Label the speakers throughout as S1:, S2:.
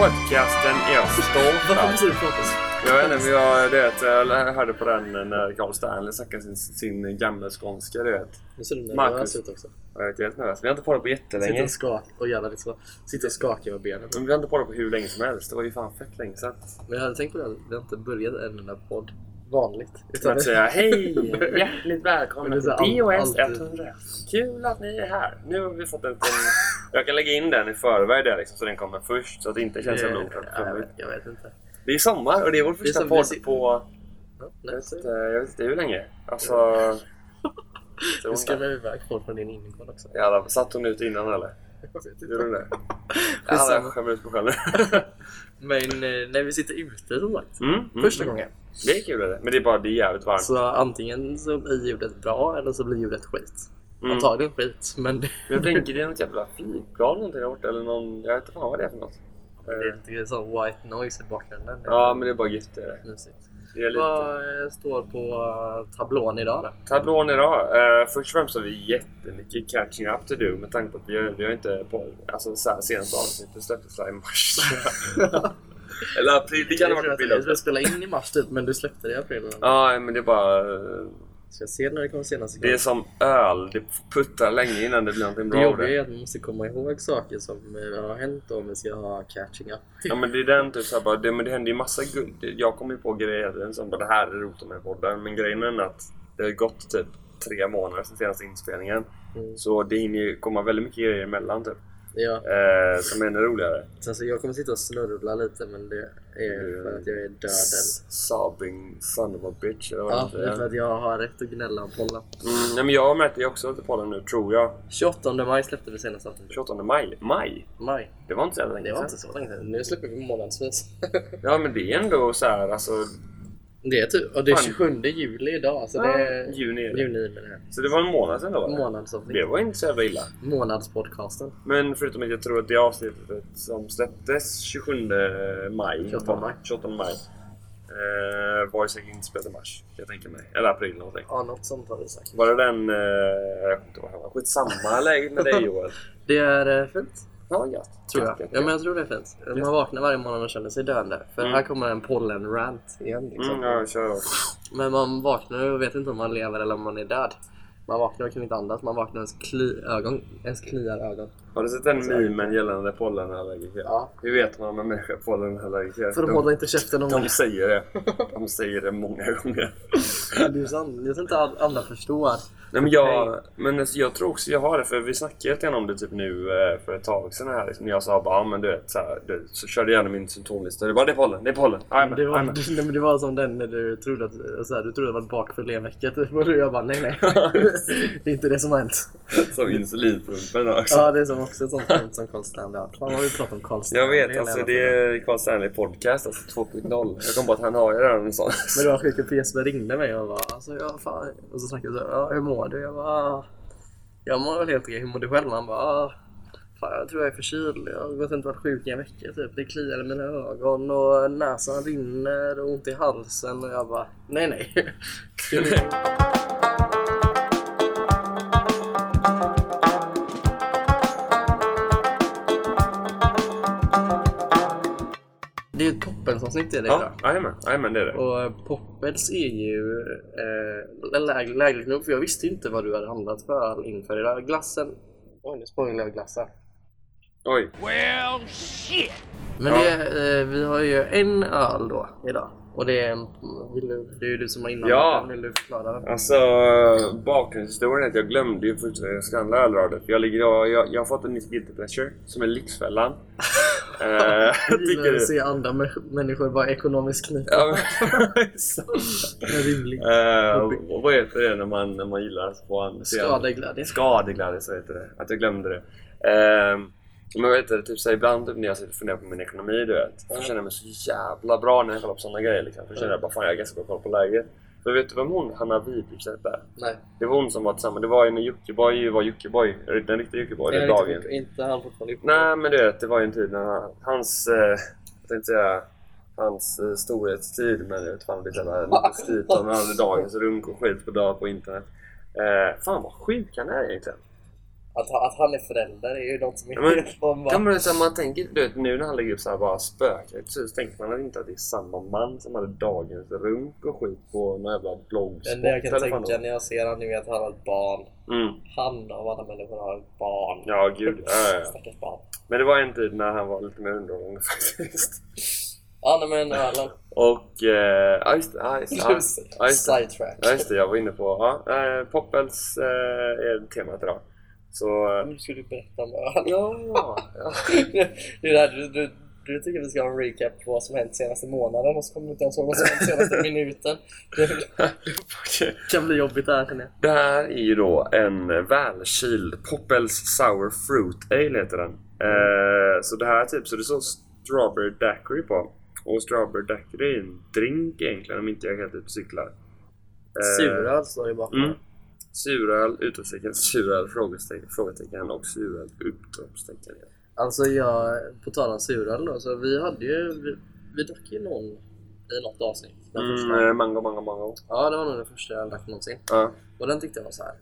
S1: podcasten Jag står
S2: Varför
S1: fast.
S2: måste du prata så?
S1: Jag vet inte, men jag, du vet, jag hörde på den när Carl Stanley snackade sin, sin gamla skånska, du vet.
S2: Nu ser du
S1: Marcus.
S2: nervös ut också.
S1: Jag vet, jag är helt nervös. Vi har inte poddat på
S2: Sitter
S1: jättelänge.
S2: och skakar och jävlar, liksom, sitter och skakar med benen.
S1: Men vi har inte poddat på hur länge som helst. Det var ju fan fett länge sedan.
S2: Men jag hade tänkt på det, vi har inte börjat en enda podd vanligt.
S1: Utan att säga hej! Hjärtligt välkomna
S2: Men det
S1: till
S2: är så all-
S1: POS
S2: alltid-
S1: 100. Kul att ni är här. Nu har vi fått en liten... Jag kan lägga in den i förväg där liksom, så den kommer först. Så att det inte känns jävla oklart.
S2: Ja, jag, vet, jag vet inte.
S1: Det är sommar och det är vår
S2: är
S1: första
S2: som vi
S1: podd
S2: sitter-
S1: på...
S2: Ja,
S1: Jag
S2: nej,
S1: vet,
S2: så-
S1: inte, jag vet inte hur länge. Alltså... så
S2: Du
S1: hon där.
S2: skrämmer iväg folk från din innergård också.
S1: Jävlar, satt hon ut innan eller?
S2: Jag vet
S1: Gjorde
S2: inte.
S1: hon det? Jävlar,
S2: Skitsamma.
S1: jag skämmer ut mig själv
S2: Men eh, när vi sitter ute som sagt.
S1: mm, mm.
S2: Första gången.
S1: Det är kul det. Men det är bara det är jävligt varmt.
S2: Så antingen så blir ljudet bra eller så blir ljudet skit.
S1: Mm. Eh.
S2: Antagligen skit, men det
S1: Men Jag tänker det är något jävla flygplan eller någonting där borta. Eller någon... Jag vet inte fan vad det är för något.
S2: det är
S1: Eh,
S2: lite sån white noise i bakgrunden.
S1: Ja, men det är bara gött det. är det.
S2: Mysigt.
S1: Det är lite...
S2: Vad eh, står på eh, tablån idag då?
S1: Tablån idag. Eh, först och främst har vi jättemycket catching up to do med tanke på att vi har, vi har inte på, alltså, så här, senaste avsnittet släpptes där i mars. Eller april, det kan ha varit
S2: Jag
S1: april
S2: tror att
S1: också.
S2: vi spelade in i mars typ, men du släppte det i april. eller?
S1: Ja, men det är bara... eh,
S2: Så jag ser när det kommer senast.
S1: Det är som öl. Det puttar länge innan det blir någonting
S2: Det
S1: bra av
S2: jobbiga
S1: det.
S2: är att man måste komma ihåg saker som eh, har hänt om vi ska ha catching up.
S1: Ja, men det är den typ såhär bara, det, men det händer ju massa guld. Jag kommer ju på grejer som bara det här är roligt med podden. Men grejen är att det har gått typ tre månader sedan senaste inspelningen.
S2: Mm.
S1: Så det hinner ju komma väldigt mycket grejer emellan typ.
S2: Ja.
S1: Eh, som är ännu roligare.
S2: Sen så alltså, jag kommer sitta och snurvla lite men det är för att jag är döden.
S1: S- Sobbing son of a bitch eller vad
S2: Ja,
S1: det
S2: det är för
S1: heter.
S2: att jag har rätt att gnälla om pollen.
S1: Mm, nej, men jag märkte ju också lite på den nu, tror jag.
S2: 28 maj släppte vi senaste avsnittet.
S1: 28 maj. Maj?
S2: Maj.
S1: Det var inte så jävla
S2: Det
S1: länge
S2: var
S1: sedan.
S2: inte så länge sedan. Nu släpper vi månadsvis.
S1: Ja, men det är ändå så här, alltså...
S2: det är typ, och det är
S1: Fan.
S2: 27 juli idag så det
S1: ja,
S2: är
S1: juni är det.
S2: juni med det här.
S1: Så det var en månad sedan då? va? Det
S2: Månadsavsnitt.
S1: var inte så jävla illa.
S2: Månadspodcasten.
S1: Men förutom att jag tror att det avsnittet som släpptes 27 maj,
S2: 28 maj.
S1: 28 maj eh, var ju säkert inte spelat i mars, kan jag tänker mig. Eller april någonting.
S2: Ja, något sånt har vi sagt.
S1: Var det den... Eh, jag kommer inte ihåg vad det var. Skitsamma läget med dig Joel.
S2: Det är eh, fint.
S1: Ja, gött.
S2: Tror
S1: Gött,
S2: jag.
S1: gött,
S2: Ja, men
S1: gött.
S2: jag tror det är fint. Man vaknar varje morgon och känner sig döende. För
S1: Mm.
S2: här kommer en pollen-rant igen. Liksom.
S1: Mm, ja, kör då.
S2: Men man vaknar och vet inte om man lever eller om man är död. Man vaknar och kan inte andas. Man vaknar och ens, kli ögon, ens kliar ögon.
S1: Har du sett den memen gällande pollenallergiker?
S2: Ja.
S1: Hur vet man om en människa är pollenallergiker?
S2: För de håller inte käften någon gång.
S1: de säger det. De säger det många gånger.
S2: Det är ju sant. Jag tror inte all- andra förstår.
S1: Nej, men jag, men alltså, jag tror också jag har det, för vi snackade lite grann om det typ nu eh, för ett tag sedan. Här, liksom, när jag sa bara, "Ja, men du vet, så, här, du, så körde jag igenom min symptomlista. Du bara, det är pollen, det är pollen. Jajamän,
S2: Det var,
S1: jajamän."
S2: nej, men det var som den när du trodde att, så här, du trodde att jag var bakfull i en vecka. Typ. Och jag bara nej nej. det är inte det som har hänt.
S1: Som insulinpumpen också.
S2: Ja, det är som också ett sånt skämt som Carl Stanley har. Fan vad vi pratar om Carl Stanley.
S1: Jag vet,
S2: hela
S1: alltså
S2: jävla
S1: det är Carl Stanley podcast, alltså 2.0. Jag kom på att han har ju redan en sån.
S2: Men det var sjukt för Jesper ringde mig och bara alltså jag fan. Och så snackade vi så här, ja, hur mår du? Jag bara "Ah, jag mår väl helt okej, hur mår du själv? Han bara "Ah, fan jag tror jag är förkyld. Jag har gått inte varit sjuk i en vecka typ. Det kliar i mina ögon och näsan rinner och ont i halsen och jag bara nej nej. Det är ju ett poppensavsnitt är det idag.
S1: Ja, jajamän, jajamän, det är det.
S2: Och eh, Poppels är ju eh, läg, lägligt nog, för jag visste ju inte vad du hade handlat för inför idag. Glassen... Oj, nu spoilar jag glassen.
S1: Oj.
S3: Well, shit.
S2: Men
S1: Ja.
S2: det, eh, vi har ju en öl då idag. Och det är, vill du, det är ju du som har inhandlat
S1: Ja.
S2: den. Vill du förklara den?
S1: Alltså bakgrundshistorien är att jag glömde ju först att jag ska handla ölrader. För jag, ligger, jag, jag, jag har fått en ny guilty pleasure som är Lyxfällan. Eh, jag
S2: Gillar
S1: tycker
S2: att se andra mä- människor vara ekonomiskt knipna.
S1: Ja, men- exakt.
S2: En rimlig
S1: Eh, och- och vad heter det när man, när man gillar att få en
S2: skadeglädje.
S1: Skadeglädje, så heter det. Att jag glömde det. Eh, men jag vet inte, typ, så här, ibland typ, när jag sitter och funderar på min ekonomi, du vet. Så känner jag mig så jävla bra när jag kollar på sådana grejer. Liksom. För jag känner jag bara, fan jag har ganska bra koll på läget. För vet du vem hon, Hanna Wibichet, är?
S2: Nej,
S1: Det var hon som var tillsammans. Det var ju när Jockiboi var Jockiboi. Den riktiga Jockiboi.
S2: det
S1: Den
S2: är
S1: dagen.
S2: inte, inte han fortfarande ihop.
S1: Nej men du vet, det var ju en tid när han, hans... Eh, jag tänkte säga... Hans eh, storhetstid. Men jag vet fan, det är jävla styrt av den andra dagens runk och skit på dag på internet. Eh, fan vad sjuk han är egentligen.
S2: Att, ha- att han är förälder är ju något som är
S1: Ja, men-
S2: helt... Man bara,
S1: Ja, men det är så här, man tänker, du vet, nu när han lägger upp så här bara spökar så tänker man inte att det är samma man som hade dagens runk och skit på någon jävla
S2: det
S1: bloggspot
S2: enda jag kan
S1: eller vad
S2: tänka
S1: det
S2: när jag ser honom är att han har ett barn.
S1: var. mm.
S2: Han av alla människor har ett barn.
S1: Ja, gud. Ja, ja, ja.
S2: Stackars barn.
S1: Men det var en tid när han var lite mer underhållande faktiskt.
S2: Ja, nej, men ölen.
S1: Och... eh, Ja, just det. Ja, just det. Ja, ja, just det.
S2: Sidetrack.
S1: Ja, just det. Jag var inne på... Ja, eh, poppels eh, är temat idag. Så... eh,
S2: Nu ska du berätta om öl.
S1: Ja! ja.
S2: Det är det här, du, du, du tycker vi ska ha en recap på vad som hänt senaste månaden och så kommer du inte ens ihåg vad som hänt senaste minuten. Det
S1: Okej.
S2: kan bli jobbigt det här känner jag.
S1: Det här är ju då en välkyld Poppels Sour Fruit Ale heter den. Eh, så det här är typ, så det står Strawberry Daiquiri på. Och Strawberry Daiquiri är en drink egentligen om inte jag är helt ute och cyklar. Eh,
S2: Suröl står alltså, det bakom.
S1: Mm. Suröl, utropstecken, suröl, frågetecken, frågetecken och suröl, utropstecken.
S2: Alltså jag, på tal om suröl då, så vi hade ju, vi, vi drack ju någon i något avsnitt. Den
S1: Mm,
S2: första.
S1: eh, mango, mango, mango.
S2: Ja, det var nog den första jag drack någonsin.
S1: Ja.
S2: Och den tyckte jag var så här.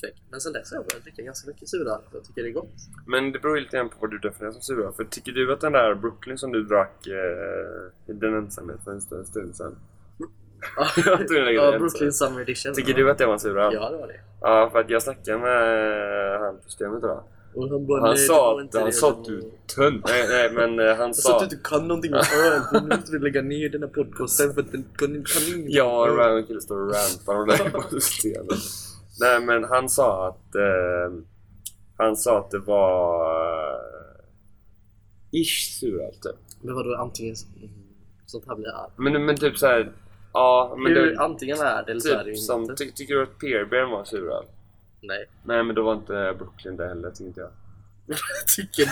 S2: fräck. Men sen dess har jag börjat dricka ganska mycket suröl. Jag tycker det är gott.
S1: Men det beror ju lite grann på vad du definierar som suröl. För tycker du att den där Brooklyn som du drack, eh, den ensamhet för en stund, stund sedan. Jag tror det är
S2: ja,
S1: en
S2: Brooklyn Summer Edition.
S1: Tycker du att det var en suröl?
S2: Ja, det var det.
S1: Ja, för att jag snackade med eh, han på systemet idag.
S2: Och han bara,
S1: Han
S2: nej, det var
S1: sa att
S2: inte
S1: han
S2: det.
S1: sa att du är tönt. Nej, nej, men eh, han
S2: Jag sa
S1: sa...
S2: att du inte kan någonting om öl, så nu måste vi lägga ner den här podcasten för att den kan inte... Kan inte.
S1: Ja, det var en kille som stod och rantade om det på systemet. Nej, men han sa att... Eh, han sa att det var... Eh, ish suröl, typ.
S2: Men vadå, antingen... så- mm, Sånt här blir arg.
S1: Men, men typ såhär... Ja, men
S2: Hur,
S1: det...
S2: antingen är det eller så är det
S1: Typ
S2: ju
S1: som,
S2: inte.
S1: ty, tycker du att Peer Bear var suröl?
S2: Nej.
S1: Nej, men då var inte Brooklyn det heller, tänkte jag.
S2: Tycker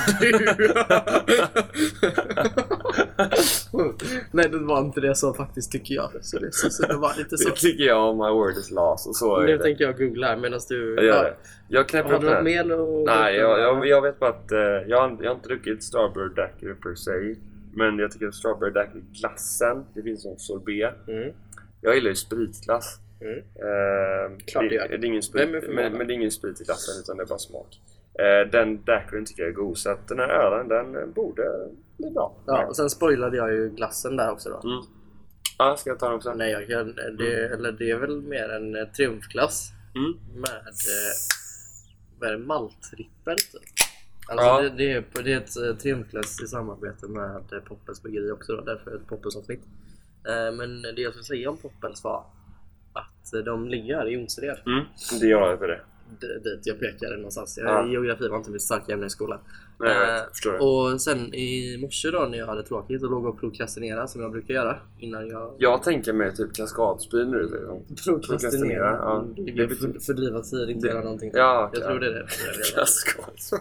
S2: du? nej, det var inte det jag sa faktiskt, tycker jag. Så det, så, så det var lite så.
S1: Det tycker jag, my word is lost, och så är
S2: Nu
S1: det.
S2: tänker jag googla här medan du...
S1: Jag gör det. Jag knäpper
S2: Har
S1: upp
S2: du
S1: det
S2: något
S1: här.
S2: mer att...
S1: Nej, jag, jag, jag vet bara att eh, jag, har- jag har inte druckit Strawberry Daiquiri per se. Men jag tycker att Strawberry Daiquiri-glassen, det finns som sorbet.
S2: Mm.
S1: Jag gillar ju spritglass.
S2: Mm.
S1: Eh,
S2: Klart
S1: det,
S2: du gör.
S1: det är ingen
S2: Vem är
S1: sprit,
S2: förvånad?
S1: men, men det är ingen sprit i glassen utan det är bara smak. Eh, den daiquirin tycker jag är god så att den här ölen den borde bli bra.
S2: Ja, och sen spoilade jag ju glassen där också då.
S1: Mm. Ja, ska jag ta den också?
S2: Nej, jag kan, det, eller det är väl mer en eh, triumfglass
S1: Mm.
S2: med, eh, vad är det, maltrippel typ. Alltså
S1: Ja.
S2: det, det, är, det är ett eh, triumfglass i samarbete med eh, Poppels bryggeri också då, därför ett Poppels avsnitt. Eh, men det jag skulle säga om Poppels var att eh, de ligger här i Jonsered,
S1: Mm. Det gör jag för det.
S2: d- dit jag pekade någonstans.
S1: Ja.
S2: Jag, geografi var inte mitt starka ämne i skolan.
S1: Nej, jag vet.
S2: Eh,
S1: Förstår det.
S2: Och sen i morse då när jag hade tråkigt och låg och prokrastinerade som jag brukar göra innan jag
S1: Jag tänker mig typ kaskadsby nu liksom.
S2: Prokrastinera.
S1: ja.
S2: Mm, Det blir för- fördriva tid, inte
S1: Det-
S2: göra någonting.
S1: Ja,
S2: jag
S1: ja.
S2: tror det är det.
S1: Kaskadsby.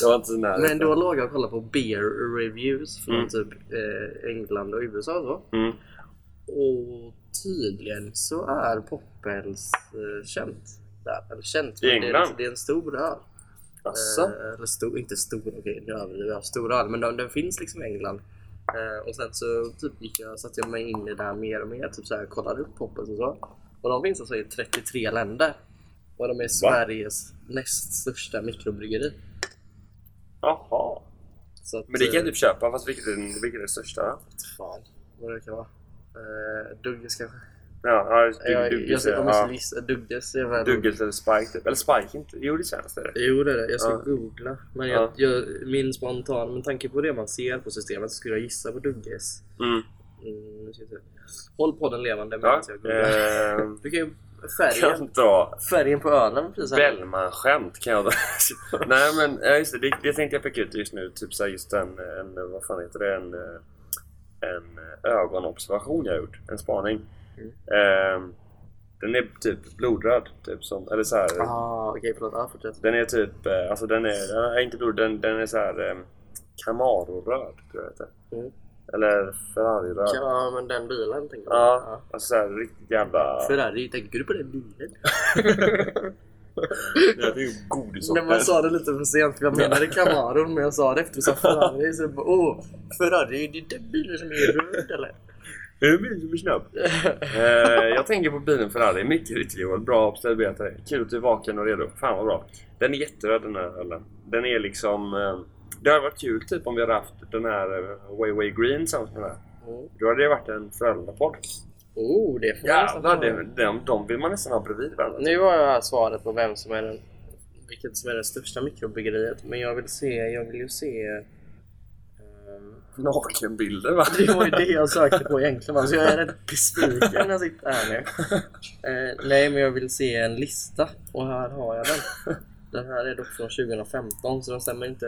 S1: Jag var inte så nära.
S2: Men då låg jag och kollade på beer reviews från
S1: Mm.
S2: typ eh, England och USA och så.
S1: Mm.
S2: Och tydligen så är Poppels eh, känt. Där. Eller känt,
S1: I
S2: men Det
S1: England?
S2: är, det är en stor öl.
S1: Jaså?
S2: Eh, eller stor, inte stor, okej nu överdriver jag. Stor öl, men den, den finns liksom i England. Eh, och sen så typ gick jag, satte jag mig in i det här mer och mer. Typ så här, kollade upp poppers och så. Och de finns alltså i 33 länder. Och de är Sveriges näst största mikrobryggeri.
S1: Jaha.
S2: Så att,
S1: Men det kan jag
S2: eh,
S1: typ köpa, fast vilket är, vilket är det största? då?
S2: Fan, vad det kan vara. Eh, Dugges kanske?
S1: Ja, ja,
S2: jag,
S1: du, Dugges,
S2: jag, jag måste
S1: ja.
S2: gissa. eh, Dugges är väl...
S1: Dugges eller Spike typ. Eller Spike inte. Jo, det känns det.
S2: Jo det är det, jag ska
S1: Ja.
S2: googla. Men jag,
S1: Ja.
S2: jag, min spontan, med tanke på det man ser på systemet så skulle jag gissa på Dugges.
S1: Mm.
S2: Mm, nu ska vi se. Håll podden levande
S1: Ja.
S2: medan jag googlar.
S1: Ehm,
S2: Du kan ju
S1: kan
S2: färgen,
S1: dra
S2: färgen på ölen precis här.
S1: Bellman-skämt kan jag dra. Nej men ja, just det, det, det tänkte jag peka ut just nu. Typ såhär just en, en, vad fan heter det, en, eh, en eh, ögonobservation jag har gjort. En spaning.
S2: Mm.
S1: Ehm, den är typ blodröd. Typ som, eller såhär,
S2: Ah, okej förlåt. Ah, fortsätt.
S1: Den är typ, eh, alltså den är, den är inte blod, den, den är såhär Camaro-röd tror jag det heter.
S2: Mm.
S1: Eller Ferrari-röd.
S2: Ja, men den bilen tänker jag.
S1: Ja, alltså såhär riktigt jävla...
S2: Ja. Ferrari, tänker du på den bilen?
S1: Ja, det är ju godissorter.
S2: När man sa det lite för sent, för jag menade Camaro, men oh, jag sa det efter du sa Ferrari. Så jag bara, åh, Ferrari, det är den bilen som är röd eller?
S1: Är du med som är snabb? eh, jag tänker på bilen Ferrari. Mycket riktigt Joel. Bra observerat dig. Kul att du är vaken och redo. Fan vad bra. Den är jätteröd den här ölen. Den är liksom... Eh, det hade varit kul typ om vi hade haft den här eh, Way Way Green tillsammans med den här.
S2: Mm.
S1: Då hade det varit en Frölunda-podd.
S2: Oh, det får man nästan
S1: Jävlar,
S2: ta.
S1: det, de, de vill man nästan ha bredvid varandra.
S2: Nu har jag här svaret på vem som är den, vilket som är det största mikrobryggeriet. Men jag vill se, jag vill ju se... ehm,
S1: Nakenbilder va?
S2: det var ju det jag sökte på egentligen. va? Så jag är rätt besviken när jag sitter här nu. Eh, nej, men jag vill se en lista. Och här har jag den. Den här är dock från 2015 så den stämmer inte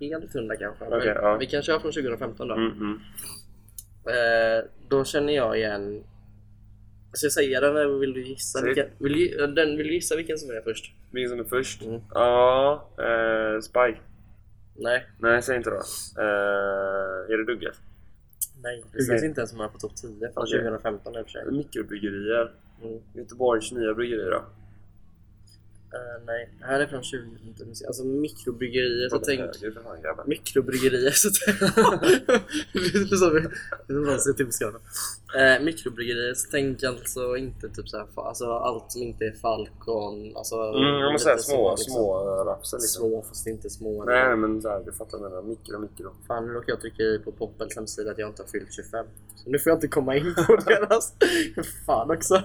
S2: helt hundra kanske. Men
S1: Okej, ja.
S2: Vi kan köra från 2015 då.
S1: Mm, mm.
S2: Eh, då känner jag igen... Ska jag säga den eller vill du gissa?
S1: Säg.
S2: Vilken, vill, du gi- den, vill du gissa vilken som är först?
S1: Vilken som är först?
S2: Mm.
S1: Ja, eh, Spy.
S2: Nej.
S1: Nej, säg inte då. Eh, är det Dugges?
S2: Nej, det
S1: Okej.
S2: syns inte ens om jag är på topp 10 från
S1: Okej.
S2: 2015 i och för sig.
S1: Mikrobryggerier.
S2: Mm.
S1: Göteborgs nya bryggeri då?
S2: Eh, nej, här är från 2015. Alltså mikrobryggerier, så
S1: Vad
S2: tänk...
S1: höger för fan grabbar.
S2: Mikrobryggerier, så tänk... Det är som- det är som att typ ska- Eh, Mikrobryggerier, så tänk alltså inte typ såhär, alltså allt som inte är Falcon, alltså...
S1: Mm, jag måste säga
S2: lite
S1: små,
S2: så, liksom.
S1: små eh, rapser liksom.
S2: Små fast inte små.
S1: Nej, nej, men så här, du fattar vad jag menar. Mikro, mikro.
S2: Fan, nu råkar jag trycka i på Poppels hemsida att jag inte har fyllt 25. Så nu får jag inte komma in på deras. Fan också.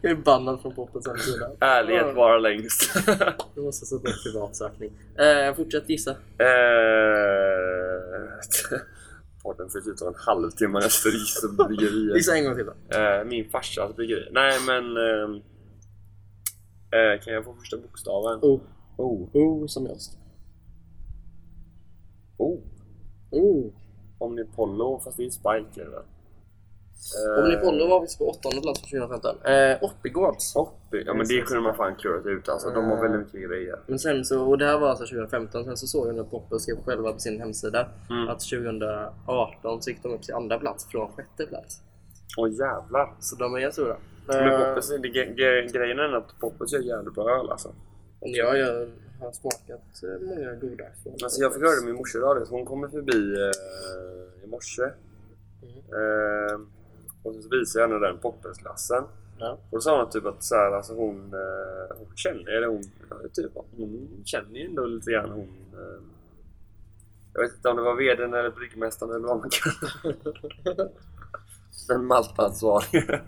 S2: Jag är bannad från Poppels hemsida.
S1: Ärlighet vara längst.
S2: Nu måste jag sätta upp privatsökning. Eh, fortsätt gissa.
S1: Eh, Podden fick ut en halvtimme efter gissbryggeriet.
S2: Gissa en gång till då.
S1: Eh, min farsas bryggeri. Nej, men... ehm, eh, kan jag få första bokstaven?
S2: O.
S1: O.
S2: O Oh, som jag ska.
S1: O.
S2: O.
S1: Omnipollo, fast det är Spiker va? Eh,
S2: Omnipollo var faktiskt på åttonde plats för 2015. Eh, Oppigårds.
S1: Oppi. Ja men det kunde man fan klurat ut alltså. De har väldigt mycket grejer.
S2: Men sen så, och det här var alltså 2015, sen så såg jag när Poppel skrev själva på sin hemsida
S1: Mm.
S2: att 2018 så gick de upp till andra plats från sjätte plats.
S1: Åh jävlar.
S2: Så de är stora.
S1: Men
S2: Eh,
S1: Poppers, det, ge- ge- grejen är att Poppers gör jävligt bra öl alltså.
S2: Om Eh, jag, jag har smakat eh, många goda från
S1: Alltså jag fick höra det min morsa idag. vet. Hon kommer förbi eh, i morse. Eh, och så visade jag henne den Poppersglassen.
S2: Ja.
S1: Och då sa hon typ att så här, alltså hon, eh, hon känner, eller hon, ja, typ, hon känner ju ändå lite grann hon... Eh, jag vet inte om det var vdn eller bryggmästaren eller vad man kallar det. Den maltansvarige.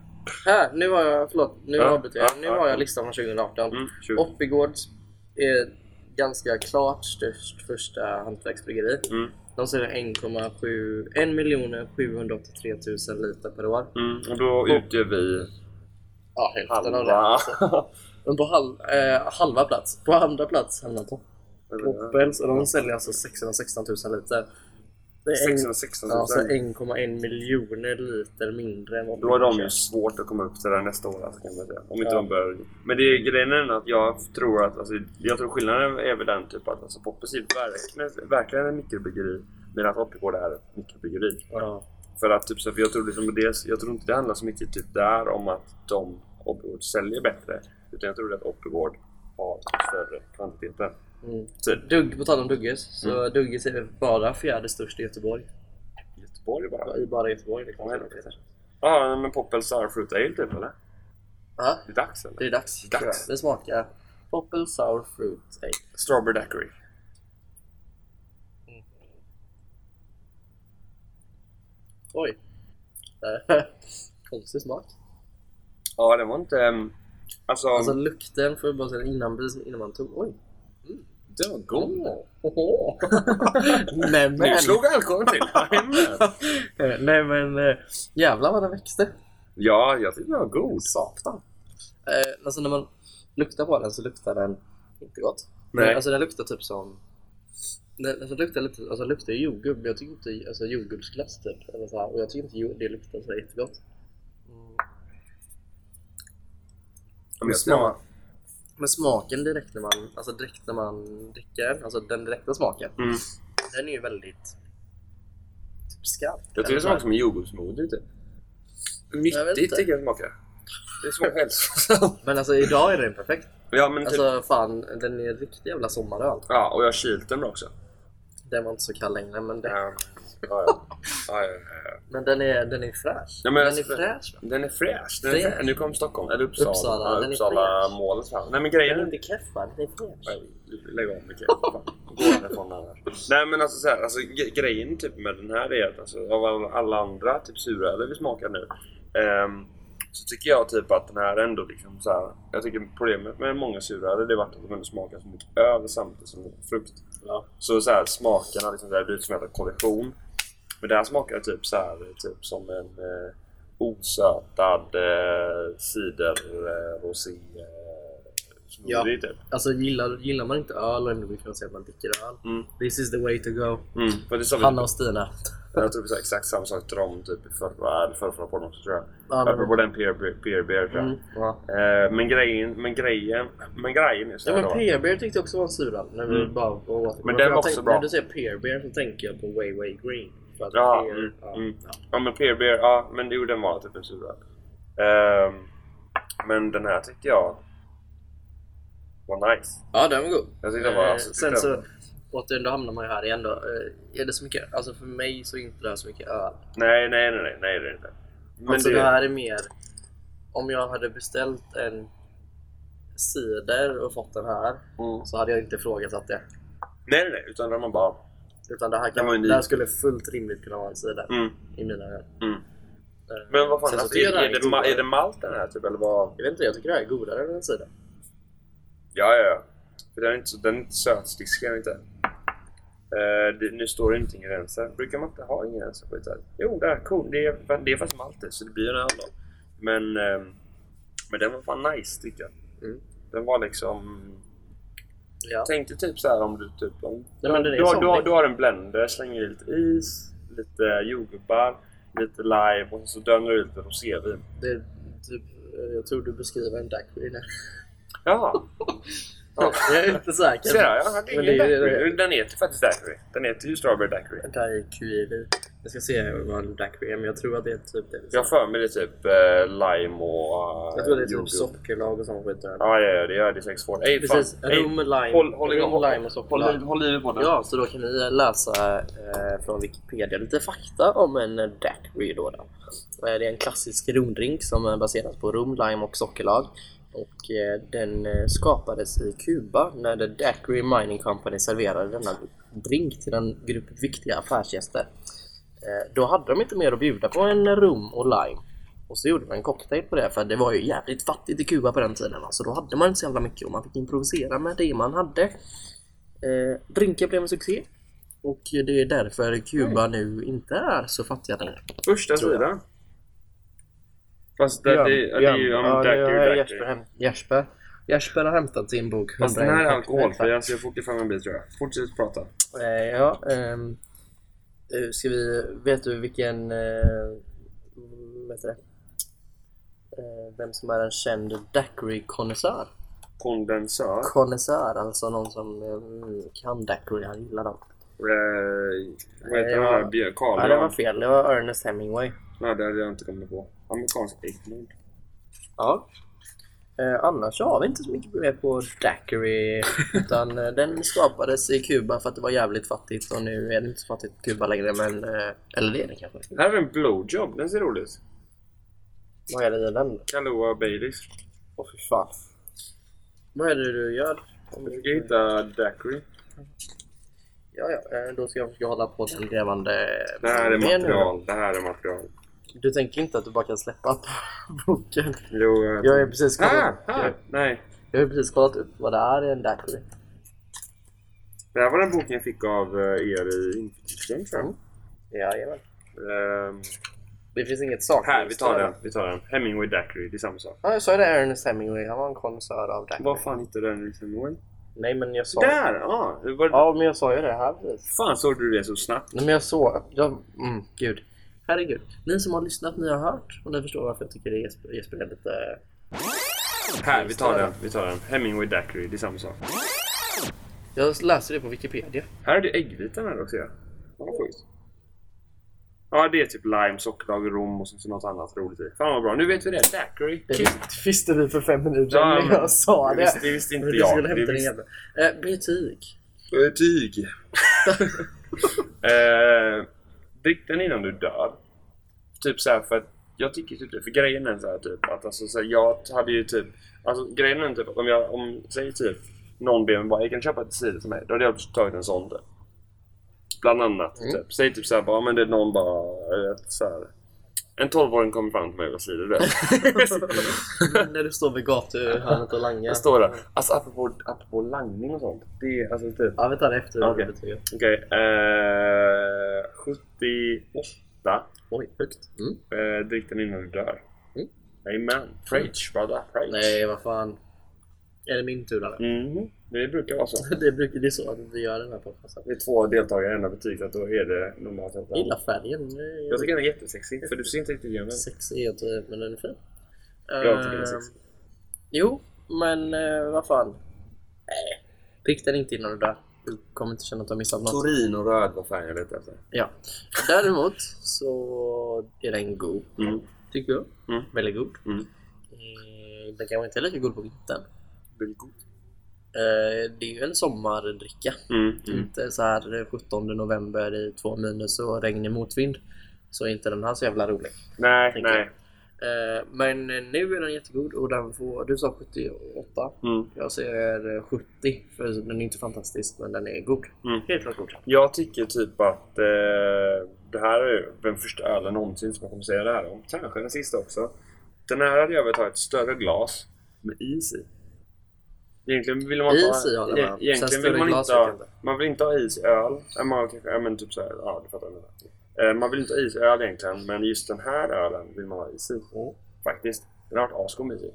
S2: Här, nu har jag, förlåt, nu
S1: Ja,
S2: avbryter jag.
S1: ja,
S2: Nu
S1: ja,
S2: har
S1: ja.
S2: jag listan från 2018.
S1: Mm, tjugo.
S2: Oppigårds är ganska klart störst första hantverksbryggeri.
S1: Mm,
S2: De säljer 1,7 1 miljoner 783 000 liter per år.
S1: mm, och då utgör vi
S2: Ja, hälften av det.
S1: halva...
S2: Men på hal, eh, halva plats, på andra plats hamnar Pop- Poppels och de säljer alltså 616 000 liter. Det är en-
S1: 616
S2: ja, så
S1: 000.
S2: 1,1 miljoner liter mindre än vad
S1: Då har de ju svårt att komma upp till det här nästa år. Alltså, kan man säga. Om inte
S2: Ja.
S1: de börjar. Men det är grejen är att jag tror att alltså, jag tror skillnaden är väl den typ att alltså, Poppers är verkligen, verkligen en mikrobryggeri medan Hoppigård är ett mikrobryggeri.
S2: Ja.
S1: För att typ, så, för jag, tror liksom, dels, jag tror inte det handlar så mycket typ, där om att de Hoppigård säljer bättre. Utan jag tror att Hoppigård har större kvantiteter.
S2: Mm.
S1: Typ
S2: Dugg, på tal om Dugges, så Dugges är bara fjärde störst i Göteborg.
S1: Göteborg bara.
S2: I bara Göteborg. Det kan
S1: Ja,
S2: man
S1: det
S2: säga.
S1: Ja, men Poppels Sour Fruit Ale typ eller?
S2: Ja,
S1: Det är dags eller?
S2: det är dags.
S1: Det är dags.
S2: Det smakar Popple Sour Fruit Ale.
S1: Strawberry Daiquiri.
S2: Oj! Konstig smak.
S1: Ja, det var inte... ehm, Alltså,
S2: Alltså lukten får jag bara säga innan, precis innan man tog... Oj!
S1: det var
S2: Oho. Nej men!
S1: Nu slog alkoholen till!
S2: Eh, Nej men! eh, Jävlar vad den växte!
S1: ja, jag tyckte den var god.
S2: Satan! Eh, alltså när man luktar på den så luktar den inte gott.
S1: Nej.
S2: Nej. Alltså den luktar typ som... Den, alltså, luktar lite, alltså den luktar jordgubb, men jag tycker inte alltså, jordgubbsglass typ. Eller så här, och jag tycker inte jord- det luktar så här jättegott.
S1: Men
S2: Men smak- Men smaken direkt när man, alltså direkt när man dricker den, alltså den direkta smaken,
S1: Mm.
S2: den är ju väldigt typ skarp.
S1: Jag tycker det smakar som en jordgubbsmoothie typ.
S2: Jag vet
S1: Nyttigt
S2: inte.
S1: tycker jag det smakar. Det smakar hälsosamt.
S2: Men alltså idag är den perfekt.
S1: ja, men typ,
S2: Alltså fan, den är en riktig jävla sommaröl.
S1: ja, och jag har kylt den bra också.
S2: Den var inte så kall längre men det
S1: Ja. Ja, ja. Ja, ja, ja.
S2: Men den är, den är fräsch.
S1: Ja, men
S2: den
S1: alltså,
S2: är fräsch va?
S1: Den är fräsch. Den är
S2: Fräsch.
S1: fräsch. Nu kom Stockholm, eller Uppsala.
S2: Uppsala,
S1: Uppsala,
S2: den
S1: ja,
S2: är
S1: Uppsala
S2: fräsch.
S1: målet fram. Nej men grejen
S2: Den
S1: är inte...
S2: är inte keff va? Den är fräsch.
S1: Lägg av Mikael. Fan, Gå härifrån annars. Nej men alltså, så här, alltså gre- grejen typ med den här är att alltså, av alla- alla andra typ suröler vi smakar nu ehm, så tycker jag typ att den här ändå liksom så här, Jag tycker problemet med många suröler det har varit att de ändå smakar så mycket öl samtidigt som det är frukt.
S2: Ja.
S1: Så, så här, smakerna liksom, det här blir som en jävla kollision. Men det här smakar typ så här, typ som en eh, osötad eh, ciderrosé eh, smoothie typ.
S2: Alltså gillar, gillar man inte öl och ändå vill kunna säga att man dricker öl.
S1: Mm.
S2: This is the way to go.
S1: Mm. För det sa vi,
S2: Hanna och Stina.
S1: jag tror vi sa exakt samma sak till dem typ, i förra, eller förra, förra podden också tror jag.
S2: Ja, men-
S1: Apropå den peer, beer- peer beer tror jag.
S2: Mm. Ja.
S1: Eh, men grejen, men grejen, men grejen är så
S2: Ja,
S1: här
S2: men
S1: då.
S2: Peer Bear tyckte jag också var en suröl. När vi
S1: Mm.
S2: bara åt.
S1: Men
S2: för
S1: den var
S2: jag tänkte-
S1: också bra.
S2: När du säger Peer Bear så tänker jag på Way Way Green. För att
S1: Ja,
S2: pear,
S1: mm,
S2: ja,
S1: mm.
S2: ja.
S1: Ja men peer beer, ja men jo den var typ en suröl. Ehm, men den här tyckte jag var nice.
S2: Ja, den var god.
S1: Jag tyckte den var-
S2: Eh,
S1: alltså, tyckte
S2: sen
S1: den-
S2: så, återigen, då hamnar man ju här igen då. Eh, är det så mycket, alltså för mig så är inte det här så mycket öl.
S1: Nej, nej, nej, nej, nej det är det inte. Men
S2: alltså
S1: det,
S2: det... här är mer, om jag hade beställt en cider och fått den här
S1: Mm.
S2: så hade jag inte ifrågasatt det.
S1: Nej, nej, nej, utan den var bara...
S2: Utan det här,
S1: Den
S2: kan,
S1: var ju ny.
S2: det här skulle fullt rimligt kunna vara en cider
S1: Mm,
S2: i mina ögon.
S1: mm.
S2: Eh,
S1: Men vad fan,
S2: sen så
S1: alltså,
S2: tycker
S1: är,
S2: jag den här
S1: är, det, ma-
S2: godare.
S1: är det malt den här typ eller vad?
S2: Jag vet inte, jag tycker det här är godare än en cider.
S1: Ja, ja, ja. För den är inte, så- den är inte sötstiskig, är den inte. Eh, det, nu står det inte ingredienser. Brukar man inte ha ingredienser på ett öl? Jo, där, cool. Det är, det är faktiskt malt i, så det blir en öl då. Men, ehm, men den var fan nice tycker jag.
S2: Mm.
S1: Den var liksom...
S2: Ja.
S1: Jag tänkte typ så här om du typ... Om,
S2: Ja, men den är
S1: du, har,
S2: somrig.
S1: du, har, du har en blender, slänger i lite is, lite jordgubbar, lite lime och så dönar du i lite rosévin.
S2: Det är typ, eh, jag tror du beskriver en duck queen.
S1: Jaha! Ja.
S2: jag är inte säker.
S1: Ser jag? Ja, det är
S2: Men det
S1: ingen
S2: är ju-
S1: daiquiri. Den heter faktiskt daiquiri. Den heter ju strawberry daiquiri.
S2: Det här är kiwi. Jag ska se vad en daiquiri är, men jag tror att det är typ det.
S1: Jag har för mig det är typ eh, lime och eh,
S2: jag tror det är typ
S1: jordgubb.
S2: sockerlag och sånt skit. där.
S1: Ja, ja, ja, det gör det säkert svårt. Ej, fan.
S2: Precis,
S1: Ej,
S2: rum med lime,
S1: håll, håll igång.
S2: rum, lime och
S1: håll, i-
S2: sockerlag.
S1: håll i på den.
S2: Ja, så då kan vi läsa eh, från Wikipedia lite fakta om en daiquiri då. då. Eh, Det är en klassisk romdrink som är baserad på rom, lime och sockerlag. Och eh, den eh, skapades i Kuba när The Daiquiri Mining Company serverade denna drink till en grupp viktiga affärsgäster. Eh, Då hade de inte mer att bjuda på än rom och lime. Och så gjorde man en cocktail på det för det var ju jävligt fattigt i Kuba på den tiden. va. Så då hade man inte så jävla mycket och man fick improvisera med det man hade. Eh, drinken blev en succé. Och det är därför Kuba nu inte är så fattiga längre.
S1: Första
S2: Tror jag.
S1: sidan. Fast det, det, ja, det är ju om
S2: ja, det
S1: daiquiri,
S2: har
S1: daiquiri.
S2: Jesper, häm- Jesper. Jesper har hämtat sin bok.
S1: Fast den
S2: 101
S1: här är
S2: cocktails, va?
S1: alkoholfri, alltså jag får åka fram en bit tror jag. Fortsätt prata.
S2: Eh, ja, ehm, eh, ska vi, vet du vilken, eh, vet det? Eh, vem som är en känd daiquiri-konnässör?
S1: Kondensör.
S2: Konnässör, alltså någon som eh, kan daiquiri, han gillar dem.
S1: Eh, vad heter
S2: Eh,
S1: han
S2: ja.
S1: där? Björn
S2: Ja, det var
S1: Karlgren?
S2: fel. Det var Ernest Hemingway.
S1: Nej, det hade jag inte kommit på. Amerikansk äggblod.
S2: Mm. Ja. Eh, annars har vi inte så mycket mer på daiquiri. Utan eh, den skapades i Kuba för att det var jävligt fattigt och nu är det inte så fattigt i Kuba längre. Men, eh, eller det är det kanske.
S1: Här är en blowjob. Den ser rolig ut.
S2: Vad är det i den då?
S1: Kahlua Baileys.
S2: Åh fy fan. Vad är det du gör?
S1: Jag försöker hitta Daiquiri.
S2: Ja, ja. eh, Då ska jag försöka hålla på den grävande...
S1: Det här är
S2: Mer nu då.
S1: material. Det här är material.
S2: Du tänker inte att du bara kan släppa boken?
S1: Jo, jag vet
S2: Jag har ju
S1: inte.
S2: precis
S1: Ah,
S2: kollat,
S1: ah,
S2: jag,
S1: nej.
S2: jag har ju precis kollat upp vad det är i en daiquiri.
S1: Det här var den boken jag fick av eh, er i inflyttningen tror jag.
S2: Jajamän.
S1: Ehm, eh,
S2: Det finns inget sak.
S1: Här, vi tar den. Vi tar den. Hemingway Daiquiri. Det är samma sak.
S2: Ja, jag sa ju det. Ernest Hemingway. Han var en konnässör av daiquiri.
S1: Var fan hittade du den i Hemingway?
S2: Nej, men jag sa...
S1: Där! Ja! det var-
S2: Ja, men jag sa ju det här precis.
S1: Fan såg du det så snabbt?
S2: Nej, men jag såg... Jag... Mm, gud. Herregud. Ni som har lyssnat, ni har hört. Och ni förstår varför jag tycker det Jesper, Jesper är lite...
S1: Här, vi tar den. Vi tar den. Hemingway Daiquiri. Det är samma sak.
S2: Jag läser det på Wikipedia.
S1: Här är det äggvitan här också ja. Vad sjukt. Ja, det är typ lime, sockerlag, rom och sen så något annat roligt i. Fan vad bra. Nu vet vi det. Daiquiri.
S2: Det
S1: Kul.
S2: visste- visste vi för fem minuter sedan
S1: Ja,
S2: när
S1: men
S2: jag sa
S1: det
S2: det.
S1: visste- det visste inte
S2: Men du
S1: jag.
S2: skulle
S1: Det
S2: hämta den
S1: visste-
S2: jävla... Eh, butik.
S1: Eh, Tyg. eh, drick den innan du dör. Typ så här för att jag tycker typ det. För grejen är så här typ att alltså, så här, jag hade ju typ... Alltså grejen är typ att om jag, om, säg typ någon ber mig bara jag kan köpa ett cider till mig. Då hade jag tagit en sån typ. Bland annat.
S2: Mm.
S1: Typ. Säg typ såhär bara, men det är någon bara, jag vet, så här, En 12-åring kommer fram till mig och vill ha cider. du vet.
S2: När du står vid gatuhörnet och langar.
S1: Jag står där. Alltså apropå, apropå langning och sånt. Det är alltså typ...
S2: Ja, vi tar det efter
S1: Okej.
S2: betyget.
S1: Okej. eh, 78.
S2: Oj, högt. Mm.
S1: Eh, drick den innan du dör.
S2: Mm.
S1: Amen. Preach brother. Preach.
S2: Nej, vad fan. Är det min tur eller?
S1: Mhm. Det brukar vara så.
S2: Det brukar det är så att vi gör den här podcasten.
S1: Det är två deltagare i ena betyg, så att då är det normalt att...
S2: Jag gillar färgen. Det är-
S1: Jag tycker den är jättesexig, för du ser inte riktigt igenom den.
S2: Sex är ett, eh, men den är fin.
S1: Jag tycker den är
S2: Eh,
S1: sexig.
S2: Jo, men eh, vad fan. Nej. Drick den inte innan du dör. Du kommer inte känna att du har missat något.
S1: Torinröd var färgen jag letade efter.
S2: Ja. Däremot så är den god.
S1: Mm.
S2: Tycker jag.
S1: Mm.
S2: Väldigt god.
S1: Mm.
S2: Eh, Den kanske inte är lika god på vintern.
S1: Blir det gott?
S2: Eh, Det är ju en sommardricka.
S1: Mm. Mm.
S2: Inte så här eh, 17 november i två minus och regn i motvind. Så är inte den här så jävla rolig.
S1: Nej,
S2: Tänker
S1: nej.
S2: Eh, Men eh, nu är den jättegod och den får... Du sa 78.
S1: Mm.
S2: Jag säger eh, 70 för den är inte fantastisk men den är god.
S1: Mm.
S2: Helt klart god.
S1: Jag tycker typ att eh, det här är ju den första ölen någonsin som jag kommer säga det här om. Kanske den sista också. Den här hade jag velat ha ett större glas med is i. Egentligen vill man inte
S2: Is i håller jag med om.
S1: e- Egentligen
S2: Sen
S1: vill
S2: större
S1: man
S2: glas
S1: inte ha...
S2: vet jag inte.
S1: Man vill inte ha is i öl. Ja, Man, kanske, ja, men typ så här, ja, du fattar vad jag menar. Eh, Man vill inte ha is i öl egentligen, men just den här ölen vill man ha is i. Faktiskt. Den har varit asgod med is i.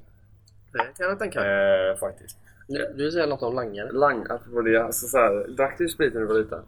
S2: Det kan jag tänka mig.
S1: Eh, faktiskt.
S2: Du, du säger något om langare.
S1: Lang, apropå det. Alltså så här, drack du sprit när du var liten?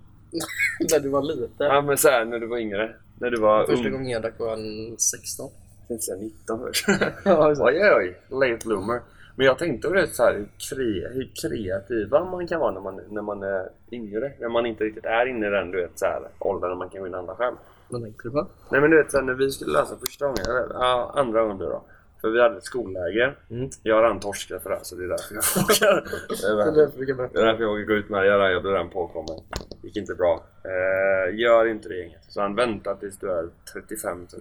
S2: När du var liten.
S1: Ja, men så här, när du var yngre. När du var
S2: Första
S1: ung.
S2: gången jag drack var en 16.
S1: Jag tänkte säga 19 först.
S2: Ja,
S1: oj, oj, late bloomer. Men jag tänkte på det så här, hur, kre, hur kreativa man kan vara när man, när man är yngre. När man inte riktigt är inne i den du vet, så här, åldern när man kan gå in andra själv.
S2: Vad tänkte du på?
S1: Nej men du vet, så här, när vi skulle lösa första gången, eller ja, andra gången blir det då. För vi hade ett skolläger.
S2: Mm.
S1: Jag rann torska för det här, så det är därför jag vågar. Det är väl- det är därför jag vågar gå ut med det. Jag rann, jag blev redan påkommen. gick inte bra. Eh, gör inte det inget. Så han väntar tills du är 35 typ.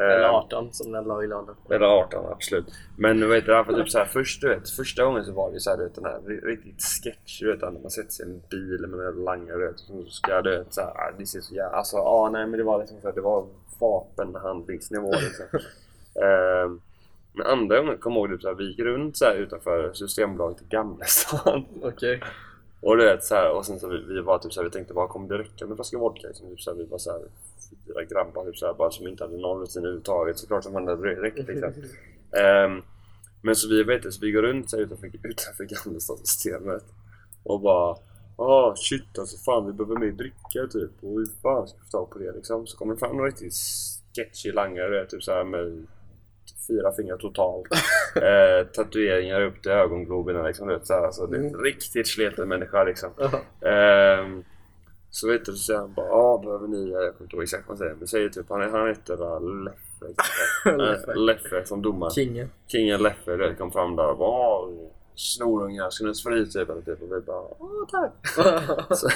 S1: Eh,
S2: Eller 18 som den la i lådan.
S1: eller 18 absolut. Men du vet, därför typ så här, först, du vet, första gången så var det ju så här, du vet, den här ri- riktigt sketch, du vet, när man sätter sig i en bil med en langare, du vet, som ska, du vet, så här, ah, det ser så jävla... Alltså, ah, nej, men det var liksom så här, det var vapenhandlingsnivå liksom. Ehm, men andra gången kom jag ihåg, typ, så här, vi gick runt så här, utanför Systembolaget i Gamlestan.
S2: Okej.
S1: Och du vet så här, och sen så vi, vi var typ så här, vi tänkte bara kommer det räcka med en flaska vodka? Liksom, typ så här, vi var så här, fyra grabbar typ så här, bara, som inte hade någon rutin överhuvudtaget. Såklart som hade det räckt liksom. Ehm, men så vi vet det, så vi går runt så här, utanför, utanför gamla stadssystemet och bara Ah shit alltså fan vi behöver mer dricka typ och hur fan ska vi få tag på det liksom? Så kommer det fram någon riktigt sketchy langare du vet, typ så här med fyra fingrar totalt. eh, tatueringar upp till ögongloberna liksom. Du vet, så här, alltså, det är en riktigt sleten människa liksom.
S2: Ja.
S1: Ehm, så vet du, så säger han bara ah, behöver ni, jag kommer inte ihåg exakt vad han säger, men säger typ han, han heter va, Leffe.
S2: Leffe.
S1: Leffe. Leffe som domare.
S2: Kingen.
S1: Kingen Leffe du vet, kom fram där och bara ah, snorungar, ska ni ha sprit typ? Eller typ. Och vi bara ah tack. Så,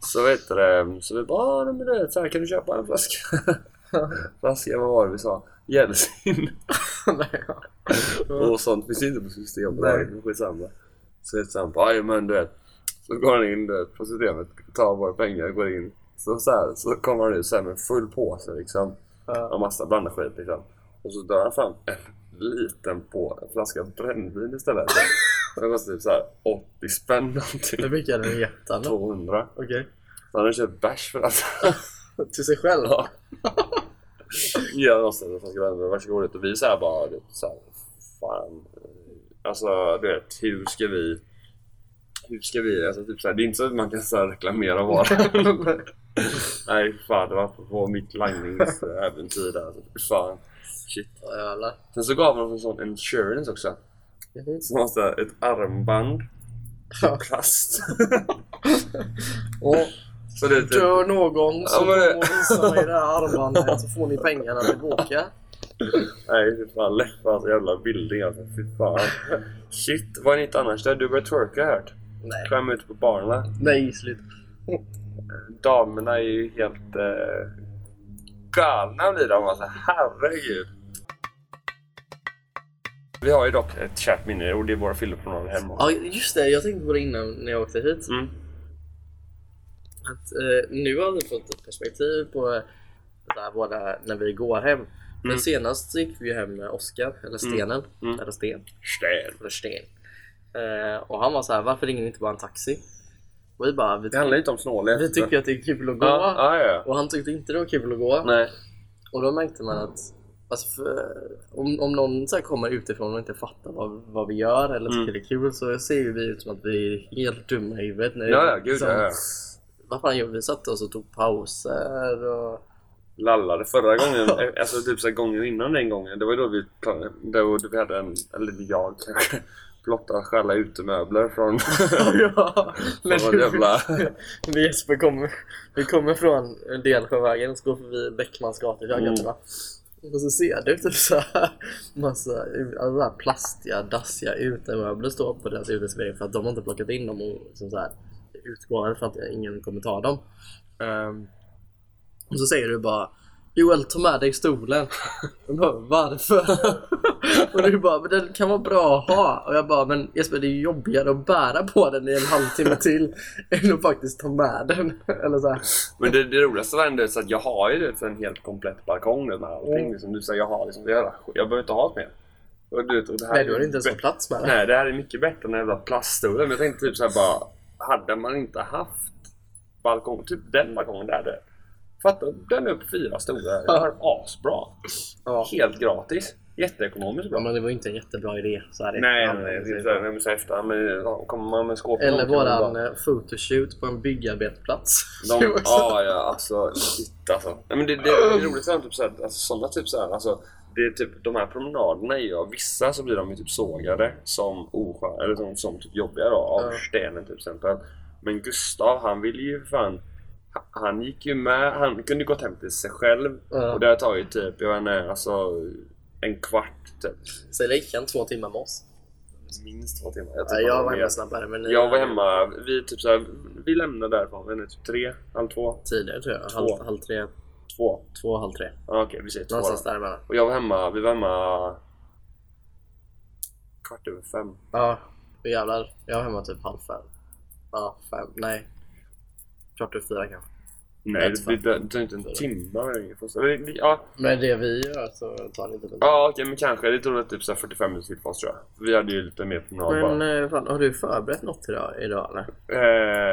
S1: så vet du det, så vi bara ah, nej, men du vet, så här, kan du köpa en flaska? flaska, vad var det vi sa? Jeltsin.
S2: Nej, ja.
S1: Och sånt finns inte på Systembolaget, men skitsamma. Så vet han bara, men du vet. Så går han in du vet, på systemet, tar våra pengar, går in. Så, så, här, så kommer han ut så här med full påse liksom.
S2: Ja.
S1: Och massa blandat skit liksom. Och så drar han fram en liten på en flaska brännvin istället. Som kostar typ så här 80 spänn
S2: Hur
S1: någonting.
S2: mycket är den i jättan?
S1: 200.
S2: Okej.
S1: Så han har köpt bärs för att
S2: Till sig själv?
S1: Ja. ja, någonstans. Jag ska vända, varsågod. ut. Och vi så här bara, du vet, så här, fan. eh, Alltså, du vet, hur ska vi... Hur ska vi... Alltså, typ så här, det är inte så att man kan så här, reklamera varan. Nej, fan. Det var på mitt langningsäventyr där. Alltså, fy fan. Shit.
S2: Ja, jävlar.
S1: Sen så gav de en sån insurance också. Som var så här, ett armband. typ
S2: Ja.
S1: Plast.
S2: Och
S1: så det är typ...
S2: dör någon så
S1: Ja, men det-
S2: visar mig det här armbandet så får ni pengarna tillbaka.
S1: Nej, fy fan. Läppar så jävla bildning alltså. Fy fan. Shit, vad är nytt annars? där? Du börjar twerka har jag hört.
S2: Nej.
S1: Skäm ute på barerna.
S2: Nej, slut.
S1: Damerna är ju helt eh, galna blir de alltså. Herregud. Vi har ju dock ett kärt minne och det är våra fyllor på någon hemma.
S2: Ja, just det. Jag tänkte på det innan när jag åkte hit.
S1: Mm.
S2: Att, eh, nu har vi fått ett perspektiv på eh, det här våra, när vi går hem. Men
S1: Mm.
S2: senast gick vi ju hem med Oskar, eller Stenen.
S1: Mm.
S2: Eller Sten.
S1: Sten.
S2: Eller Sten. Eh, och han var så här, varför ringer ni inte bara en taxi? Och vi bara, vi,
S1: Det handlar inte om snålhet.
S2: vi tycker att det är kul att gå.
S1: Ja, ja, ja.
S2: Och han tyckte inte det var kul att gå.
S1: Nej.
S2: Och då märkte man att alltså för, om, om någon så här kommer utifrån och inte fattar vad, vad vi gör eller tycker
S1: Mm.
S2: det är kul så ser ju vi ut som att vi är helt dumma i huvudet. När
S1: Ja, ja, gud
S2: liksom,
S1: ja, ja.
S2: Vad fan gjorde vi? Vi satte oss och tog pauser och...
S1: lallade förra gången, alltså typ så här gången innan den gången. Det var ju då vi, pla- då vi hade en, eller jag kanske, blottade själva utemöbler från...
S2: ja, men
S1: Fan, vad jävla-
S2: vi Jesper kommer, vi kommer från Delsjövägen och så går förbi Bäckmans
S1: Mm.
S2: gatuköket va? Och så ser du typ såhär massa alltså, så här plastiga, dassiga utemöbler står på deras uteservering för att de har inte plockat in dem och liksom så här, utgår för att ingen kommer ta dem. Ehm, och så säger du bara Joel, ta med dig stolen. Jag bara, Varför? och du bara, men den kan vara bra att ha. Och jag bara, men Jesper det är ju jobbigare att bära på den i en halvtimme till än att faktiskt ta med den. Eller så här.
S1: Men det, det roligaste var ändå så att jag har ju det för en helt komplett balkong nu med allting.
S2: Mm.
S1: Liksom, du säger jag har liksom, det här, jag behöver inte ha ett mer. Och, du vet, och det här
S2: Nej,
S1: är
S2: du har inte ens
S1: bä-
S2: fått plats med den.
S1: Nej, det här är mycket bättre än den jävla plaststolen. Men jag tänkte typ så här bara, hade man inte haft balkong, typ den balkongen där. där. Fatta, den är upp fyra stolar. Det är asbra.
S2: Ja.
S1: Helt gratis. Jätteekonomiskt bra.
S2: men det var ju inte en jättebra idé. Så här, i
S1: Nej,
S2: efterhand.
S1: nej, nej. Jag menar så efter. Men ja, kommer man med skåp
S2: Eller
S1: kan man
S2: våran
S1: bara-
S2: eh, photoshoot på en byggarbetsplats. Det
S1: De,
S2: var också-
S1: ja, ja, alltså shit alltså. Nej, men det, det, det är roligt att typ såhär, alltså, sådana typ såhär, alltså det är typ de här promenaderna är ju, av vissa så blir de ju typ sågade som osköna, eller som, som typ jobbiga då, av
S2: Ja.
S1: stenen till exempel. Men Gustav, han ville ju för fan, han- han gick ju med, han kunde ju gått hem till sig själv
S2: Ja.
S1: och det har tagit typ, jag vet inte, alltså en kvart typ.
S2: Så det gick en två timmar med oss.
S1: Minst två timmar. Jag,
S2: Ja,
S1: tror
S2: jag
S1: han
S2: var
S1: mer.
S2: hemma snabbare men ni-
S1: Jag var hemma, vi, typ så här, vi lämnade därifrån, jag vet inte, typ tre, halv två,
S2: tidigare tror jag.
S1: Två.
S2: Halv, halv tre,
S1: två.
S2: två, halv tre.
S1: Ja, Okej, vi säger två
S2: Någonstans
S1: då.
S2: däremellan.
S1: Och jag var hemma, vi var hemma kvart över fem.
S2: Ja, och jävlar. Jag var hemma typ halv fem. Ja, fem. Nej. Kvart över fyra kanske.
S1: Nej,
S2: Ett
S1: det, det, det tar inte en timme. Eller, vi- Ja,
S2: Men det vi gör så tar det inte lite.
S1: ja okej, men kanske. Det tog typ så här 45 minuter till för oss tror jag. Vi hade ju lite mer promenad
S2: Men
S1: bara.
S2: eh, fan, har du förberett något idag, idag eller?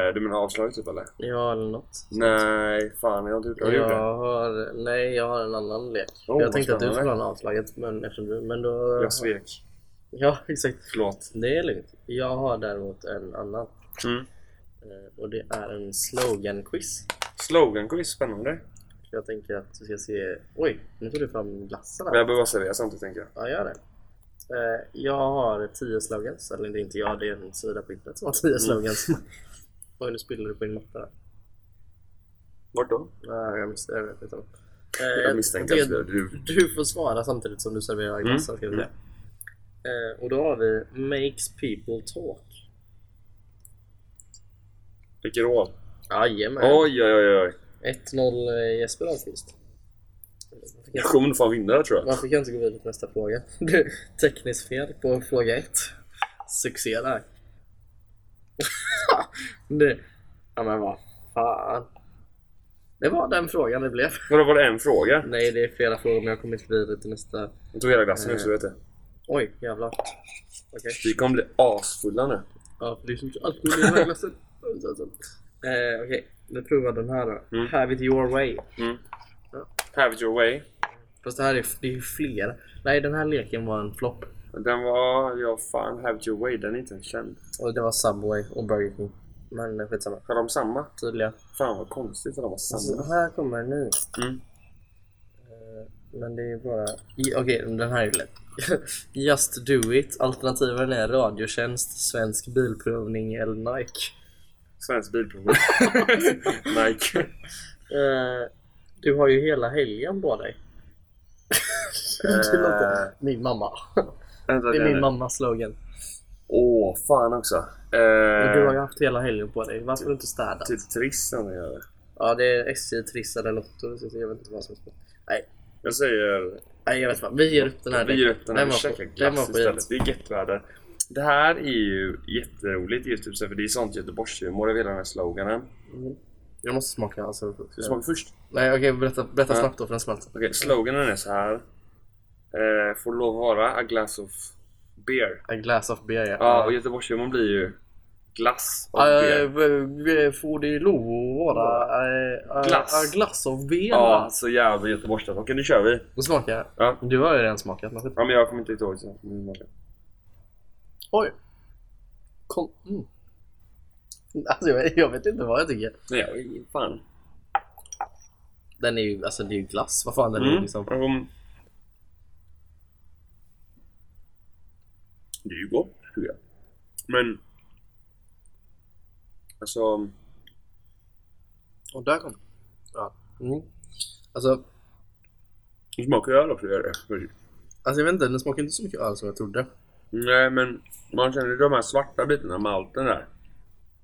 S1: Eh, du menar avslaget typ eller?
S2: Ja, eller något?
S1: Nej, fan jag har inte gjort det. Har du gjort det?
S2: Jag har, nej, jag har en annan lek.
S1: Oh,
S2: jag tänkte att du
S1: spännande.
S2: skulle ha en avslaget, men eftersom du... Men då...
S1: Jag svek.
S2: Ja, exakt.
S1: Förlåt.
S2: Det är lugnt. Jag har däremot en annan.
S1: Mm.
S2: eh, Och det är en slogan-quiz.
S1: Slogan-quiz, spännande.
S2: Jag tänker att du ska se... Oj, nu tog du fram glassen
S1: Men
S2: här.
S1: jag behöver vara seriös samtidigt tänker jag.
S2: Ja, gör det. Eh, Jag har tio slogans, eller det är inte jag, det är en sida på internet som har
S1: Mm.
S2: tio slogans. Oj, nu spiller du på din matta.
S1: Vart då?
S2: Nej, jag misstänkte det. skitsamma. Eh,
S1: Jag misstänker att
S2: tycker att
S1: du... Mm.
S2: Du får svara samtidigt som du serverar glassen, ska vi säga. Eh, Och då har vi Makes people talk.
S1: Vilket råd.
S2: Jajamän.
S1: Oj, oj, oj, oj.
S2: 1-0 eh, Jesper har sist. Man fick
S1: Jag
S2: inte-
S1: kommer nog fan vinna det tror jag.
S2: Man fick inte gå vidare till nästa fråga. Det är Tekniskt fel på fråga 1. Succé där. det, ja men vad fan. Det var den frågan det blev.
S1: Vadå, var det en fråga?
S2: Nej, det är flera frågor men jag kommer inte vidare till nästa.
S1: Jag tog hela glassen nu så du vet det.
S2: Oj, jävlar. Okej.
S1: Eh, Vi kommer bli asfulla nu.
S2: Ja, för det är så mycket alkohol i den här glassen. Eh, Okej, vi provar den här då.
S1: Mm.
S2: Have it your way.
S1: Have it your way.
S2: Fast det här är, det är ju flera. Nej, den här leken var en flopp.
S1: Den var... Ja, fan. Have it your way. Den är inte ens känd.
S2: Och det var Subway och Burger King. Men eh, skitsamma.
S1: Har de samma?
S2: Tydligen.
S1: Fan vad konstigt att de var
S2: Alltså,
S1: samma.
S2: här kommer den nu.
S1: Mm.
S2: Eh, Men det är bara... I- Okej, den här är ju lätt. Just do it. Alternativen är Radiotjänst, Svensk Bilprovning eller Nike.
S1: Svensk Bilprovning. Nike.
S2: Eh, du har ju hela helgen på dig. Det låter- min mamma.
S1: Vänta,
S2: Det är min
S1: mamma.
S2: mammas slogan.
S1: Åh, fan också.
S2: Men Du har
S1: Eh,
S2: ju haft hela helgen på dig. Varför har du inte städat?
S1: typ Trissan gör det.
S2: Ja, det är SJ, Triss eller Lotto. Så jag vet inte vad som är. Nej.
S1: Jag säger...
S2: Nej, jag vet vad. Vi ger upp den här.
S1: vi ger upp den här.
S2: Den
S1: Vi
S2: var
S1: käkar
S2: skit. Den var
S1: glass
S2: skit.
S1: istället. Det är gött väder. Det här är ju jätteroligt just typ, så här, för det är sånt Göteborgshumor över hela den här sloganen.
S2: Mm. Jag måste smaka alltså.
S1: Ska vi smaka först?
S2: Nej okej, berätta, berätta
S1: Ja.
S2: snabbt då för den smälter.
S1: Okej, sloganen är så här. Eh, får lov att vara a glass of beer.
S2: A glass of beer ja.
S1: Ja, och Göteborgshumorn blir ju glass of
S2: Eh,
S1: beer.
S2: v- v- Får det lov att vara eh, eh,
S1: Glass.
S2: a glass of beer?
S1: Ja,
S2: va?
S1: så jävla göteborgskt. Okej, nu kör vi.
S2: Nu smakar jag.
S1: Ja.
S2: Du har ju redan smakat men skit.
S1: Ja, men jag kommer inte ihåg. Så. jag kommer inte ihåg.
S2: Oj! Kom. Mm. Alltså jag, jag vet inte vad jag tycker.
S1: Nej, jag- fan.
S2: Den är ju, alltså det är ju glass. Vad fan den är
S1: Mm.
S2: liksom.
S1: Um, det är ju gott, tycker jag. Men... Alltså...
S2: Och där kom den. Ja. Mm. Alltså,
S1: Det smakar ju öl också, gör det. Precis.
S2: alltså jag vet inte, den smakar inte så mycket öl som jag trodde.
S1: Nej, men man känner ju de här svarta bitarna, malten där.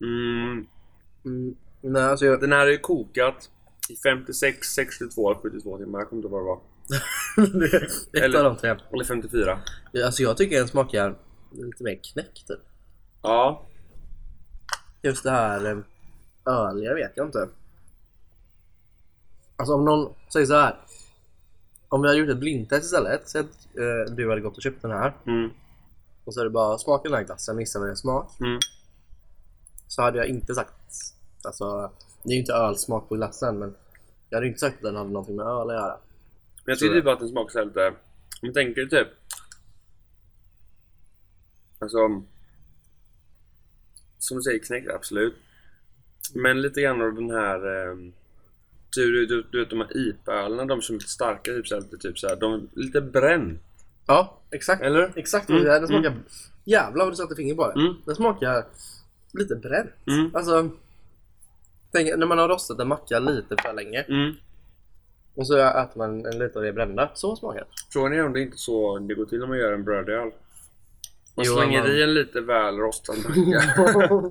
S1: Mm,
S2: Mm. Nej alltså jag...
S1: den här är ju kokat i 56, 62, 72 timmar. Jag kommer inte ihåg vad det var.
S2: Ett
S1: Eller-
S2: av de tre.
S1: Eller 54.
S2: Alltså jag tycker den smakar lite mer knäck typ.
S1: Ja.
S2: Just det här eh, öliga vet jag inte. Alltså om någon säger så här. Om vi hade gjort ett blindtest istället. Säg att eh, du hade gått och köpt den här.
S1: Mm,
S2: Och så är det bara smaka den här glassen, gissa vad det är smak.
S1: mm.
S2: Så hade jag inte sagt... Alltså, det är ju inte ölsmak på glassen men jag hade ju inte sagt att den hade någonting med öl att göra.
S1: Men jag tycker typ att den smakar såhär lite... Om jag tänker typ... Alltså... Som du säger, knäck, absolut. Men lite grann av den här... ehm, Du, du, du, du vet de här IPA-ölerna, de som är lite starka, typ såhär, lite, typ såhär, de är lite bränt.
S2: Ja, exakt.
S1: Eller?
S2: Exakt vad
S1: Mm,
S2: det är. Den smakar... Jävlar vad du satte fingret på det.
S1: Mm.
S2: Den smakar lite bränt.
S1: Mm.
S2: Alltså... Tänk, när man har rostat en macka lite för länge
S1: Mm.
S2: och så äter man en lite av det brända. Så smakar det.
S1: Frågan är om det inte är så det går till när man gör en brödöl. Man
S2: Jo,
S1: slänger
S2: man-
S1: i en lite väl rostad macka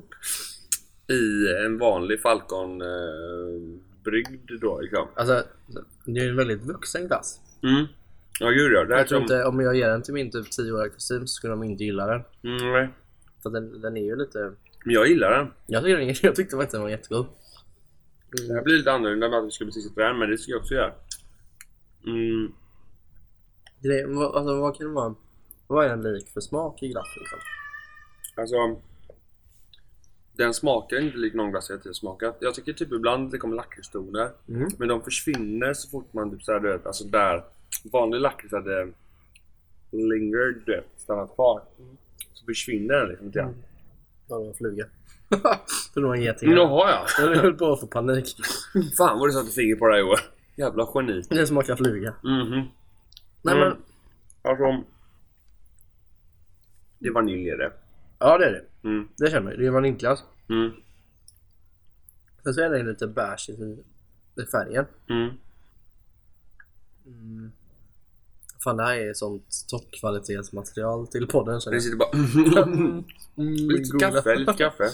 S1: i en vanlig falcon eh, bryggd då liksom.
S2: alltså, det är en väldigt vuxen glass.
S1: Mm. Ja gud ja. Det här
S2: Jag tror
S1: som...
S2: inte, om jag ger den till min typ 10-åriga kusin så skulle de inte gilla den.
S1: Mm, nej.
S2: För den, den är ju lite...
S1: Men jag gillar den.
S2: Jag, tycker den, jag tyckte faktiskt den var jättegod.
S1: Det här blir lite annorlunda med att vi skulle betygsätta den, men det ska jag också göra. Mm.
S2: Grej, vad, alltså, vad kan det vara? Vad är den lik för smak i glass liksom?
S1: Alltså... Den smakar inte lik någon glass jag tidigare smakat. Jag tycker typ ibland det kommer lakritstoner.
S2: Mm.
S1: Men de försvinner så fort man typ såhär du vet, alltså där vanlig lakrits hade lingered du vet, stannat kvar. Så försvinner den liksom lite grann.
S2: Ja, det var en fluga. För det var en geting.
S1: Mm. Jaha ja!
S2: Jag höll på att få panik.
S1: Fan vad du satte fingret på det här Joel. Jävla geni.
S2: Det smakar fluga.
S1: Mhm.
S2: Nej
S1: Mm.
S2: men...
S1: Alltså. Det är vanilj i det.
S2: Ja det är det.
S1: Mm.
S2: Det känner jag. Det är vaniljglass.
S1: Mm.
S2: Sen så är den lite beige i i färgen.
S1: Mm.
S2: Fan det här är sånt toppkvalitetsmaterial till podden känner
S1: Det
S2: jag.
S1: sitter bara... lite
S2: Mm, googla.
S1: kaffe, lite kaffe.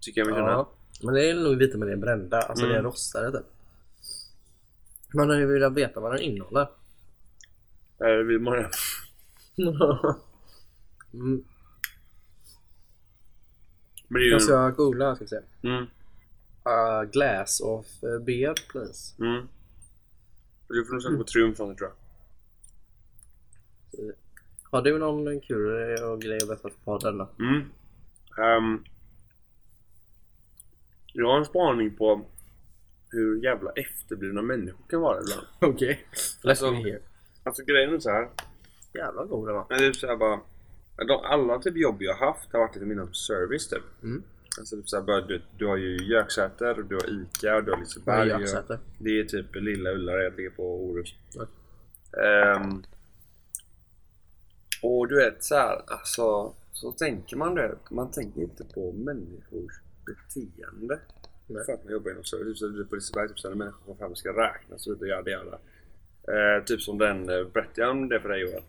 S1: Tycker jag mig känna.
S2: Ja. Men det är nog lite med det brända. Alltså
S1: Mm.
S2: det är rostade typ. Man hade ju velat veta vad den innehåller.
S1: Eh, vill man det?
S2: mm.
S1: Men det är ju...
S2: Jag ska googla här ska vi se.
S1: Mm.
S2: Uh, glass of eh, beer please.
S1: Mm. Du får nog sätta på triumf från det tror jag.
S2: Har du någon kul eh, och grej att berätta för podden då?
S1: Mm. Ehm, jag har en spaning på hur jävla efterblivna människor kan vara ibland.
S2: Okej.
S1: Alltså-
S2: Let me hear.
S1: Alltså grejen är så här.
S2: Jävlar god den var.
S1: Men det är så här bara, de, alla typ jobb jag haft har varit liksom inom service typ.
S2: Mm.
S1: Alltså typ så här, bara, du, du har ju Göksäter, och du har ICA, och du har
S2: Vad är
S1: Liseberg. och-
S2: Göksäter?
S1: Det är typ Lilla Ullared, ligger på Orust.
S2: Ja.
S1: Ehm, och du vet så här, alltså så tänker man det. Man tänker inte på människors beteende.
S2: Nej.
S1: För att man jobbar inom service. Typ så på Liseberg, typ så här, när människor kommer fram och ska räkna och så vidare. Jada, jada. Eh, typ som den, eh, berättade jag om det för dig Johan?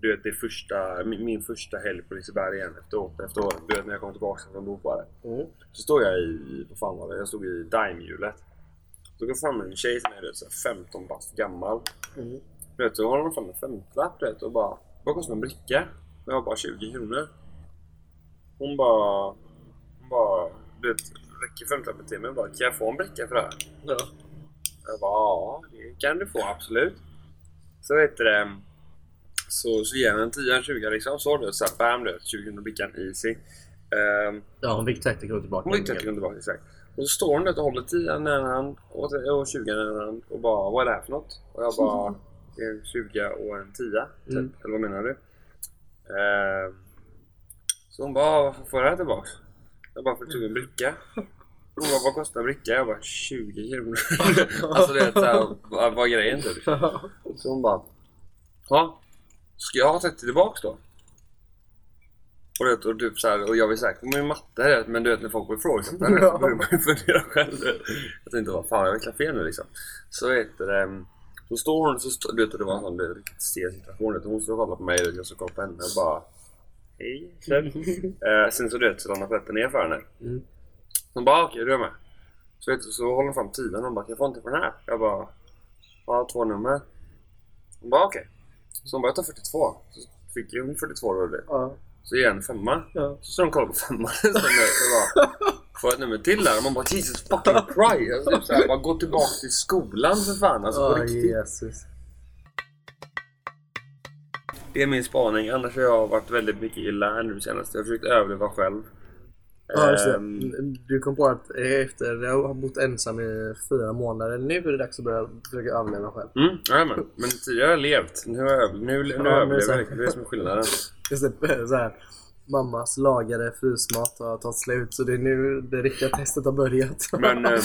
S1: Du vet, det är första, min, min första helg på Liseberg igen efter, år- efter året. Du vet när jag kom tillbaka från Dopare.
S2: Mm.
S1: Så står jag i, vad fan var det? Jag stod i Daimhjulet. Då går fram en tjej som är du vet, så här 15 bast gammal.
S2: Mm.
S1: Du vet, så håller hon fram en femtlapp du vet, och bara Vad kostar en bricka? Jag har bara 20 kronor. Hon bara... Hon bara... Du vet, räcker femtlappen till mig och bara Kan jag få en bricka för det här?
S2: Ja.
S1: Jag bara, ja, det kan du få absolut. Så vet du det. Så, så ger han en 10 en 20 liksom. Så du, så här, bam du, 20 kronor brickan, easy. Um,
S3: Ja, hon fick 30 kronor tillbaka.
S1: hon gick 30 kronor tillbaka exakt. Och så står hon där och håller 10 när han och, och 20 när han och bara, vad är det här för något? Och jag bara, det är en 20 och en 10 typ.
S2: Mm.
S1: Eller vad menar du? Ehm, så hon bara, får jag det här tillbaks? Jag bara, för du tog en bricka. Hon bara, vad kostar en bricka? Jag bara, 20 kronor. alltså det är såhär, vad vad är grejen typ? Så hon bara... Ja, ska jag ha 30 tillbaks då? Och, du vet, och, typ så här, och jag vill säkert min matte här, men du vet när folk ifrågasätter det så börjar man ju fundera själv. Jag tänkte vad fan, jag räknar fel nu liksom. Så vet du det, så står hon, så stå, du vet det var en sån du vet, riktigt stel situation. du vet. Hon står och kollar på mig och jag står och kollar på henne och bara Hej, Kjell. eh, Sen så du vet så ramlar Petter ner för henne.
S2: Mm.
S1: Hon bara "Ah, okej, du är med. Så, vet du, så håller hon fram tiden och hon bara kan jag få en till på den här? Jag bara ja, två nummer. Hon bara okej. Så hon bara jag tar 42. Så fick ju hon 42 då. du vet.
S2: Ja.
S1: Så ger jag en femma.
S2: Ja.
S1: Så står de och kollar på femman sen där. Så bara, får jag ett nummer till där? Och man bara Jesus fucking Christ! Alltså, typ så här, bara, gå tillbaka till skolan för fan. Alltså på
S2: Ja,
S1: riktigt.
S2: Ah, Jesus.
S1: Det är min spaning. Annars har jag varit väldigt mycket illa här nu senast. Jag har försökt överleva själv.
S2: Ja, just det. Mm,
S1: Ehm,
S2: Du kom på att eh, efter jag har bott ensam i fyra månader, nu är det dags att börja försöka överleva själv.
S1: Mm, jajamän. men tidigare har jag levt. Nu, har jag- nu, nu
S2: nu
S1: överlever
S2: så här.
S1: jag. Det är det som är skillnaden.
S2: Istället så här, mammas lagade frysmat har tagit slut så det är nu det riktiga testet har börjat.
S1: Men, eh,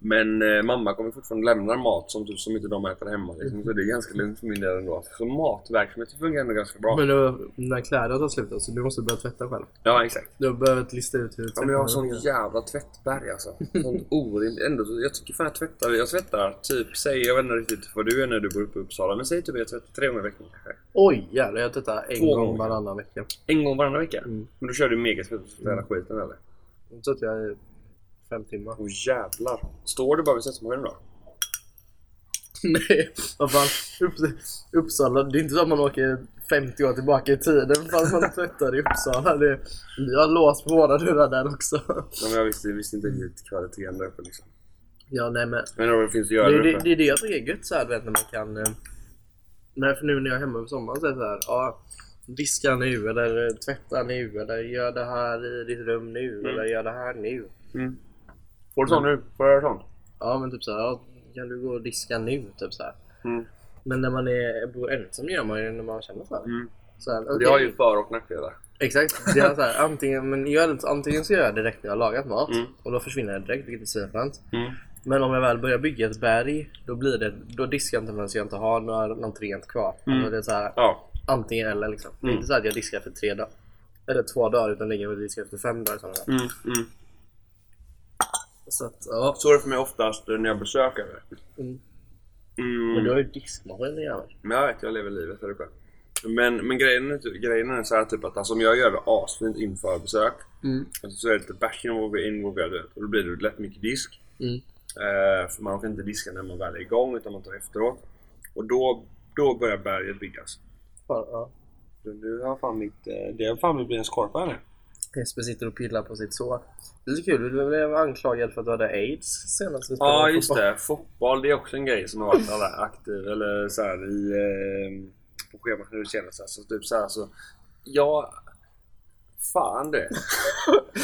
S1: men eh, mamma kommer fortfarande lämna mat som, typ, som inte de äter hemma. Liksom, så det är ganska lugnt för min del ändå. Så matverksamheten fungerar ändå ganska bra.
S2: Men då, när kläderna tar slut så du måste börja tvätta själv.
S1: Ja, exakt.
S2: Du har behövt lista ut hur du
S1: Ja, men jag har sån
S2: tvättar.
S1: jävla tvättberg alltså. Sånt orimligt. Ändå, så- jag tycker fan jag tvättar. Jag tvättar typ, säg, jag vet inte riktigt vad du är när du bor uppe i Uppsala. Men säg typ att jag tvättar tre gånger i veckan kanske.
S2: Oj jävlar, jag tvättar en
S1: Två
S2: gång
S1: gånger.
S2: varannan vecka.
S1: En gång varannan vecka.
S2: Mm.
S1: Men då kör du megatvätt och tvättar hela skiten eller?
S2: Nu tvättar jag i fem timmar.
S1: Åh jävlar. Står du bara vid sättsmaskinen då?
S2: Nej, vad fan. Upp, Uppsala, det är inte så att man åker 50 år tillbaka i tiden för att man tvättar i Uppsala. Det, vi har lås på våra dörrar där också.
S1: Nej, men jag visste, visste inte riktigt kvaliteten där uppe liksom.
S2: Ja, nej men.
S1: Mm. Men vad det finns att
S2: Det,
S1: göra
S2: är
S1: där
S2: det,
S1: uppe.
S2: det är det jag tycker är gött så här, du vet när man kan... eh, Nej, för nu när jag är hemma på sommaren så är det så här, ja. Diska nu eller eh, tvätta nu eller gör det här i ditt rum nu
S1: Mm.
S2: eller gör det här nu.
S1: Får du sån nu? Får jag göra sån?
S2: Ja, men typ så här, ja, kan du gå och diska nu? Typ så här.
S1: Mm.
S2: Men när man är, bor ensam gör man ju när man känner för det.
S1: Mm.
S2: Så här,
S1: Det har
S2: okej.
S1: ju för och nackdelar.
S2: Exakt. Det är så här, antingen, men jag, antingen så gör jag det direkt när jag har lagat mat
S1: Mm.
S2: och då försvinner det direkt, vilket är svinfränt.
S1: Mm.
S2: Men om jag väl börjar bygga ett berg, då, blir det, då diskar jag inte förrän jag inte har några, något rent kvar.
S1: Mm.
S2: Alltså det är så här,
S1: Ja.
S2: antingen eller liksom. Det är
S1: Mm.
S2: inte så här att jag diskar efter tre dagar. Eller två dagar, utan ligger och diskar efter fem dagar. i sådana fall.
S1: Mm,
S2: Så att, ja.
S1: Så är det för mig oftast när jag besöker.
S2: Mm.
S1: Mm.
S2: Men du har ju diskmaskin i hjärnan.
S1: Men jag vet, jag lever livet här uppe. Men, men grejen, är, typ- grejen är så här typ att alltså, om jag gör det asfint inför besök
S2: Mm.
S1: alltså, så är det lite bärs involverad involverad, du vet. och då blir det lätt mycket disk.
S2: Mm.
S1: Eh, för man orkar inte diska när man väl är igång utan man tar efteråt. Och då, då börjar berget byggas.
S2: Fan, ja.
S1: Så Nu har fan mitt... eh, Det har fan blivit en skorpa här nu.
S2: Jesper sitter och pillar på sitt sår. Det är så kul, du blev anklagad för att du hade aids senast vi
S1: Ja,
S2: spelade
S1: just
S2: fotboll.
S1: det. Fotboll, det är också en grej som har varit sådär aktiv eller så här i... Eh, på schemat nu senast. Alltså typ så här så... Ja... Fan det.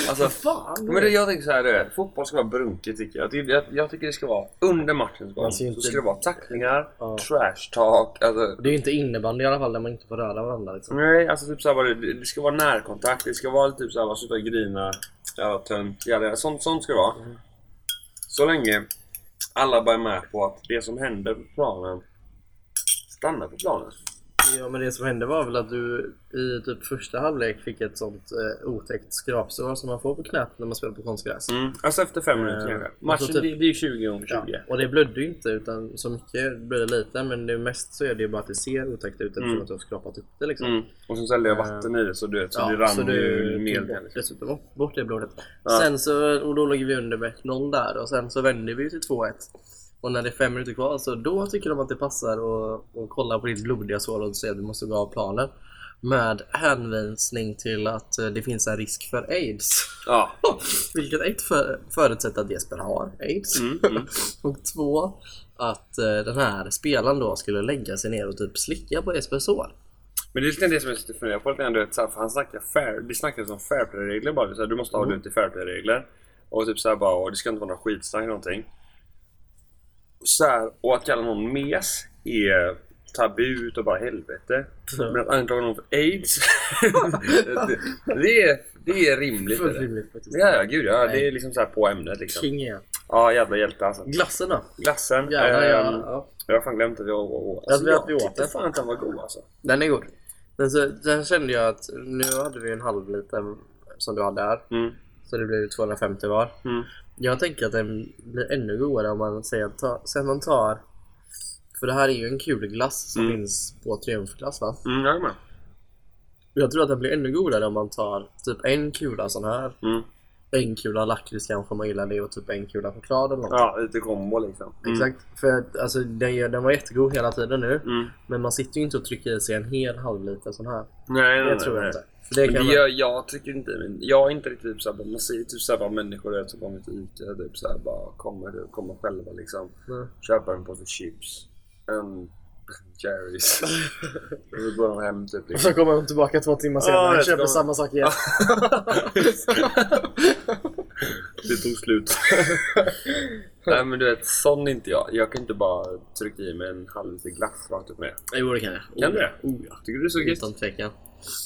S1: Alltså,
S2: Fan!
S1: men det, jag tänker så här, du vet, fotboll ska vara brunket tycker jag. Jag, jag. jag tycker det ska vara under matchens gång.
S2: Man ser Alltså,
S1: Så
S2: inte-
S1: ska det vara tacklingar,
S2: Ja.
S1: trash talk, alltså...
S2: Det är ju inte innebandy i alla fall där man inte får röra varandra. Liksom.
S1: Nej, alltså typ såhär, det, det ska vara närkontakt, det ska vara typ såhär, sluta grina, jävla tönt, jävla, sånt, sånt ska det vara. Så länge alla bara är med på att det som händer på planen stannar på planen.
S2: Ja men det som hände var väl att du i typ första halvlek fick ett sånt eh, otäckt skrapsår som man får på knät när man spelar på konstgräs.
S1: Mm. Alltså efter fem minuter
S2: Eh,
S1: kanske.
S2: alltså
S1: Matchen,
S2: typ-
S1: det, det är ju 20 gånger 20.
S2: Ja, och det blödde ju inte utan så mycket blöder lite men det mest så är det ju bara att det ser otäckt ut eftersom
S1: Mm.
S2: att du har skrapat upp det liksom.
S1: Mm. Och så hällde jag vatten i det så du vet, så det rann ju ner. liksom.
S2: tog bort, dessutom bort- bort det blodet.
S1: Ja.
S2: Sen så, och då låg vi under med 0 där och sen så vände vi ju till 2-1. Och när det är fem minuter kvar så då tycker de att det passar att att kolla på ditt blodiga sår och säga att du måste gå av planen. Med hänvisning till att eh, det finns en risk för aids.
S1: Ja.
S2: Vilket ett för, förutsätter att Jesper har aids.
S1: Mm, mm.
S2: Och två, att eh, den här spelaren då skulle lägga sig ner och typ slicka på Jespers sår.
S1: Men det är lite det som jag sitter och funderar på. lite grann, du vet, så här, för han snackar fair, det snackas om fairplay-regler bara. Så här, du måste ha mm. till fairplay-regler. Och typ såhär bara, och det ska inte vara någon skitsnack eller någonting. Och, så här, och att kalla någon mes är tabu utav bara helvete.
S2: Mm.
S1: Men att anklaga någon för aids, det, det, är, det är rimligt.
S2: Fullt
S1: Eller?
S2: rimligt faktiskt.
S1: Ja, ja, gud ja.
S2: Nej.
S1: Det är liksom så här på ämnet liksom.
S2: King är
S1: Ja, jävla hjälte alltså.
S2: Glassen då?
S1: Glassen.
S2: Jävlar, ja,
S1: ehm,
S2: ja.
S1: Jag har fan glömt att vi åt- åt.
S2: vi- att vi
S1: jag
S2: åt
S1: tyckte
S2: den.
S1: fan att den var god alltså.
S2: Den är god. Men så, sen kände jag att nu hade vi en halv liter som du hade här.
S1: Mm.
S2: Så det blev 250 var.
S1: Mm.
S2: Jag tänker att den blir ännu godare om man säger att ta, sen man tar... För det här är ju en kul glass som
S1: Mm.
S2: finns på triumfglass va?
S1: Mm, jag är med.
S2: Jag tror att den blir ännu godare om man tar typ en kula sån här.
S1: Mm.
S2: En kula lakrits kanske om man gillar det och typ en kula choklad eller något.
S1: Ja, lite kombo liksom. Mm.
S2: Exakt. För att, alltså, den, gör- den var jättegod hela tiden nu.
S1: Mm.
S2: Men man sitter ju inte och trycker i sig en hel halv liter sån här.
S1: Nej, nej,
S2: Det tror jag
S1: nej.
S2: inte. För det
S1: Men
S2: kan
S1: det
S2: man-
S1: gör, jag tycker inte, men jag är inte riktigt typ såhär, man ser ju typ såhär bara människor du vet, som kommer till ICA typ såhär bara kommer, kommer själva liksom.
S2: Mm.
S1: Köper en påse chips, en Jerrys. Och så går de hem typ
S2: Och
S1: liksom.
S2: så kommer de tillbaka två timmar
S1: Ja,
S2: senare
S1: det
S2: och köper
S1: ska-
S2: samma sak igen.
S1: Det tog slut. nej men du vet, sån är inte jag. Jag kan inte bara trycka i mig en halv liter glass rakt upp med.
S2: Jo, det kan jag.
S1: Kan du det?
S2: Oh, ja.
S1: Tycker du det är så gött?
S2: Utan tvekan.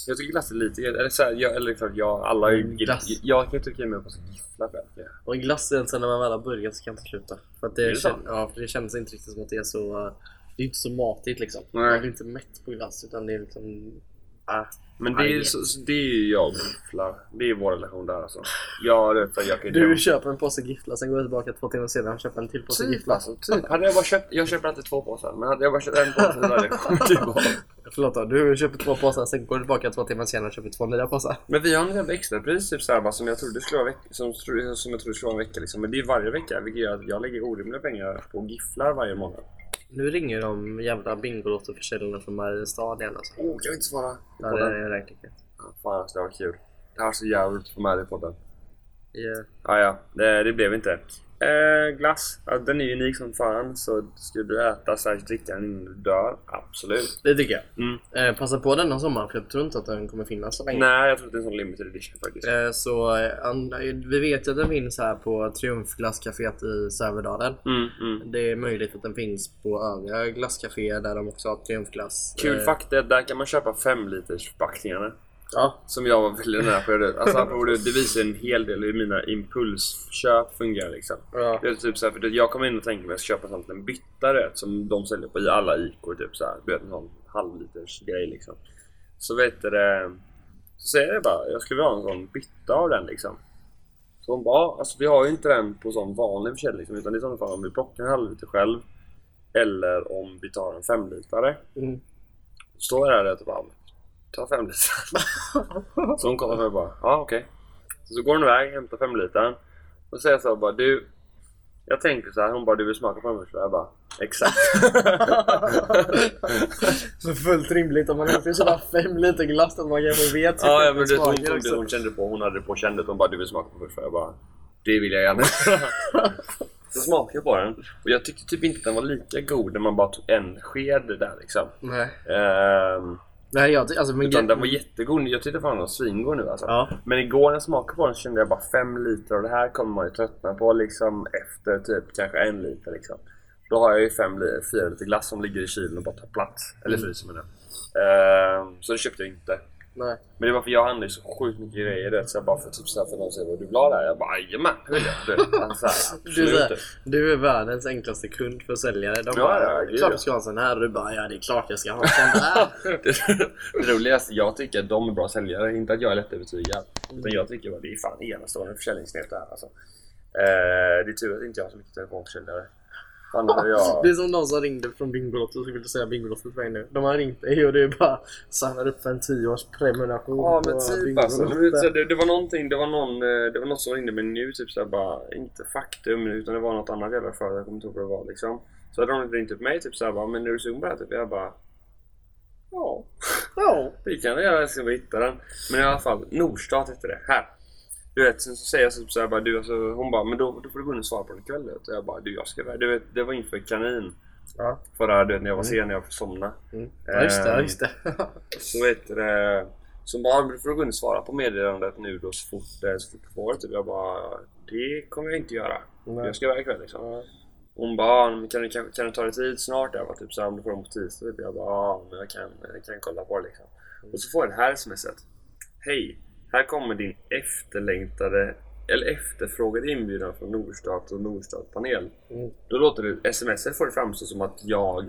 S1: Jag tycker glass är lite gött. Eller, så här, jag, eller klart, jag, alla är ju
S2: Mm,
S1: gill-
S2: glass.
S1: Jag kan ju tycka mig på så giffla själv. Ja.
S2: Och en glass är sen när man väl har börjat så kan jag inte sluta. För att
S1: Är
S2: det,
S1: det
S2: kän...
S1: sant?
S2: ja, för det känns inte riktigt som att det är så... eh, Det är inte så matigt liksom.
S1: Nej.
S2: Man blir inte mätt på glass utan det är liksom... Ah.
S1: Men det är, ju så, så det är ju jag och gifflar. Det är vår relation där alltså. Jag, det, för jag kan ju
S2: Du
S1: inte-
S2: köper en påse Giffla, sen går du tillbaka två timmar senare och köper en till påse
S1: Typ
S2: Giffla.
S1: alltså, typ. Hade jag bara köpt, jag köper alltid två påsar, men hade jag bara köpt en påse så hade jag sjukt bra.
S2: Förlåt då, du köper två påsar, sen går du tillbaka två timmar senare och köper två nya påsar.
S1: Men vi har en jävla extrapris typ såhär, som jag trodde skulle vara veck- som, tro- som jag trodde skulle vara en vecka liksom. Men det är varje vecka, vilket gör att jag lägger orimliga pengar på gifflar varje månad.
S2: Nu ringer de jävla Bingolotto-försäljarna från Mariestad igen alltså.
S1: Åh, kan vi inte svara?
S2: Ja, det är räkligt.
S1: Fan, alltså, det var kul. Det här är så jävligt att få med det i podden.
S2: Yeah.
S1: Ja, ja. Det, det blev inte. Eh, glass. Ja, den är unik som fan. Så skulle du äta, särskilt dricka den innan du dör. Absolut.
S2: Det tycker jag.
S1: Mm.
S2: Eh, passa på denna sommaren för jag tror inte att den kommer finnas så länge.
S1: Nej, jag tror att det är en sån limited edition faktiskt.
S2: Eh, så eh, an- vi vet ju att den finns här på Triumfglasscaféet i Sävedalen.
S1: Mm, mm.
S2: Det är möjligt att den finns på övriga glasscaféer där de också har Triumfglass.
S1: Kul
S2: Eh,
S1: fakta, där kan man köpa 5 liters förpackningarna.
S2: Ja,
S1: Som jag var väldigt nära på. Alltså, apropå det det visar en hel del hur mina impulsköp fungerar liksom.
S2: ja.
S1: Det är typ så här, för det- jag kommer in och tänker mig att köpa en sån liten bytta du vet, som de säljer på i alla IK. Typ så här, du vet en sån halvliters grej liksom. Så vet du det. Så säger jag bara, jag skulle vilja ha en sån bytta av den liksom. Så hon bara, "Ja, alltså vi har ju inte den på sån vanlig försäljning liksom, utan det är i sådana fall om vi plockar en halvliter själv. Eller om vi tar en femlitare.
S2: Mm.
S1: Så står jag där och bara, ta fem liter. så hon kollar på mig och bara, ja okej. Så, så går hon iväg, hämtar fem litern. Och säger jag så här bara, du. Jag tänker så här, hon bara, du vill smaka på den först? Jag bara, exakt.
S2: Så fullt rimligt om man inte köpa fem liter glass att man kanske vet
S1: ja, ja men du, vet, hon,
S2: smaker
S1: hon,
S2: också.
S1: hon kände på, hon hade det på kändet. Hon bara, du vill smaka på den först? Jag bara, det vill jag gärna. så smakade jag på den. Och jag tyckte typ inte att den var lika god när man bara tog en sked där liksom.
S2: Nej.
S1: Ehm,
S2: Nej, jag ty- alltså, men
S1: utan den var jättegod. Jag tyckte fan den var svingod nu alltså.
S2: Ja.
S1: Men igår när jag smakade på den så kände jag bara fem liter och det här kommer man ju tröttna på liksom efter typ kanske en liter liksom. Då har jag ju fem li- fyra liter glass som ligger i kylen och bara tar plats. Eller
S2: Mm.
S1: fryser med den. Ehm, så det köpte jag inte.
S2: Nej.
S1: Men det var för jag handlade ju så sjukt mycket grejer. Det, så jag bara för typ såhär, för någon säger var du glad här? Jag bara jajamän, det vill jag. Du vet, han så här,
S2: Du är
S1: absolut.
S2: såhär, du är världens enklaste kund för säljare. De
S1: Ja,
S2: bara,
S1: ja,
S2: det är
S1: gud,
S2: klart
S1: ja."
S2: du ska ha en sån här. Och du bara, ja det är klart jag ska ha en sån här.
S1: Det- Det roligaste, jag tycker att de är bra säljare. Inte att jag är lättövertygad. Utan jag tycker att det är fan enastående försäljningsknep det här alltså. Eh, det är tur att inte jag har så mycket telefonförsäljare. Fan, då hade jag...
S2: Det är som någon som ringde från Bingolotto och ville säga Bingolotto till mig nu. De har ringt dig och du bara signar upp för en 10-års prenumeration
S1: Ja men
S2: på
S1: typ
S2: Bingolotto.
S1: alltså. Men så det, det var någonting, det var någon, eh, det var något som ringde mig nu typ såhär bara, inte faktum utan det var något annat jävla företag, jag kommer inte ihåg vad det var liksom. Så hade de ringt upp mig typ såhär bara, men är du sugen på det här? Typ jag bara, ja.
S2: Ja.
S1: Vi kan väl göra det, ska vi hitta den. Men i alla fall, Nordstat hette det. Här. Du vet, sen så säger jag typ såhär bara, du alltså, hon bara, men då, då får du gå in och svara på den ikväll. du vet. Och jag bara, du jag ska iväg. Du vet, det var inför kanin.
S2: Ja.
S1: Förra, du vet, när jag var
S2: Mm.
S1: sen, när jag somnade.
S2: Mm. ja, just det. ja, Just det.
S1: Så vet du det. Så bara, men du får gå in och svara på meddelandet nu då så fort, eh, så fort du får det. Typ. Jag bara, det kommer jag inte göra.
S2: Nej.
S1: Jag ska iväg ikväll liksom. Hon bara, "Ah, men kan, du- kan, kan du ta dig tid snart? Jag var typ såhär, om du får dem på tisdag. Typ. Jag bara, ja men jag kan, jag kan kolla på det liksom. Och så får jag det här smset. Hej! Här kommer din efterlängtade, eller efterfrågade inbjudan från Nordstat och Nordstat-panel.
S2: Mm.
S1: Då låter det, sms får det framstå som att jag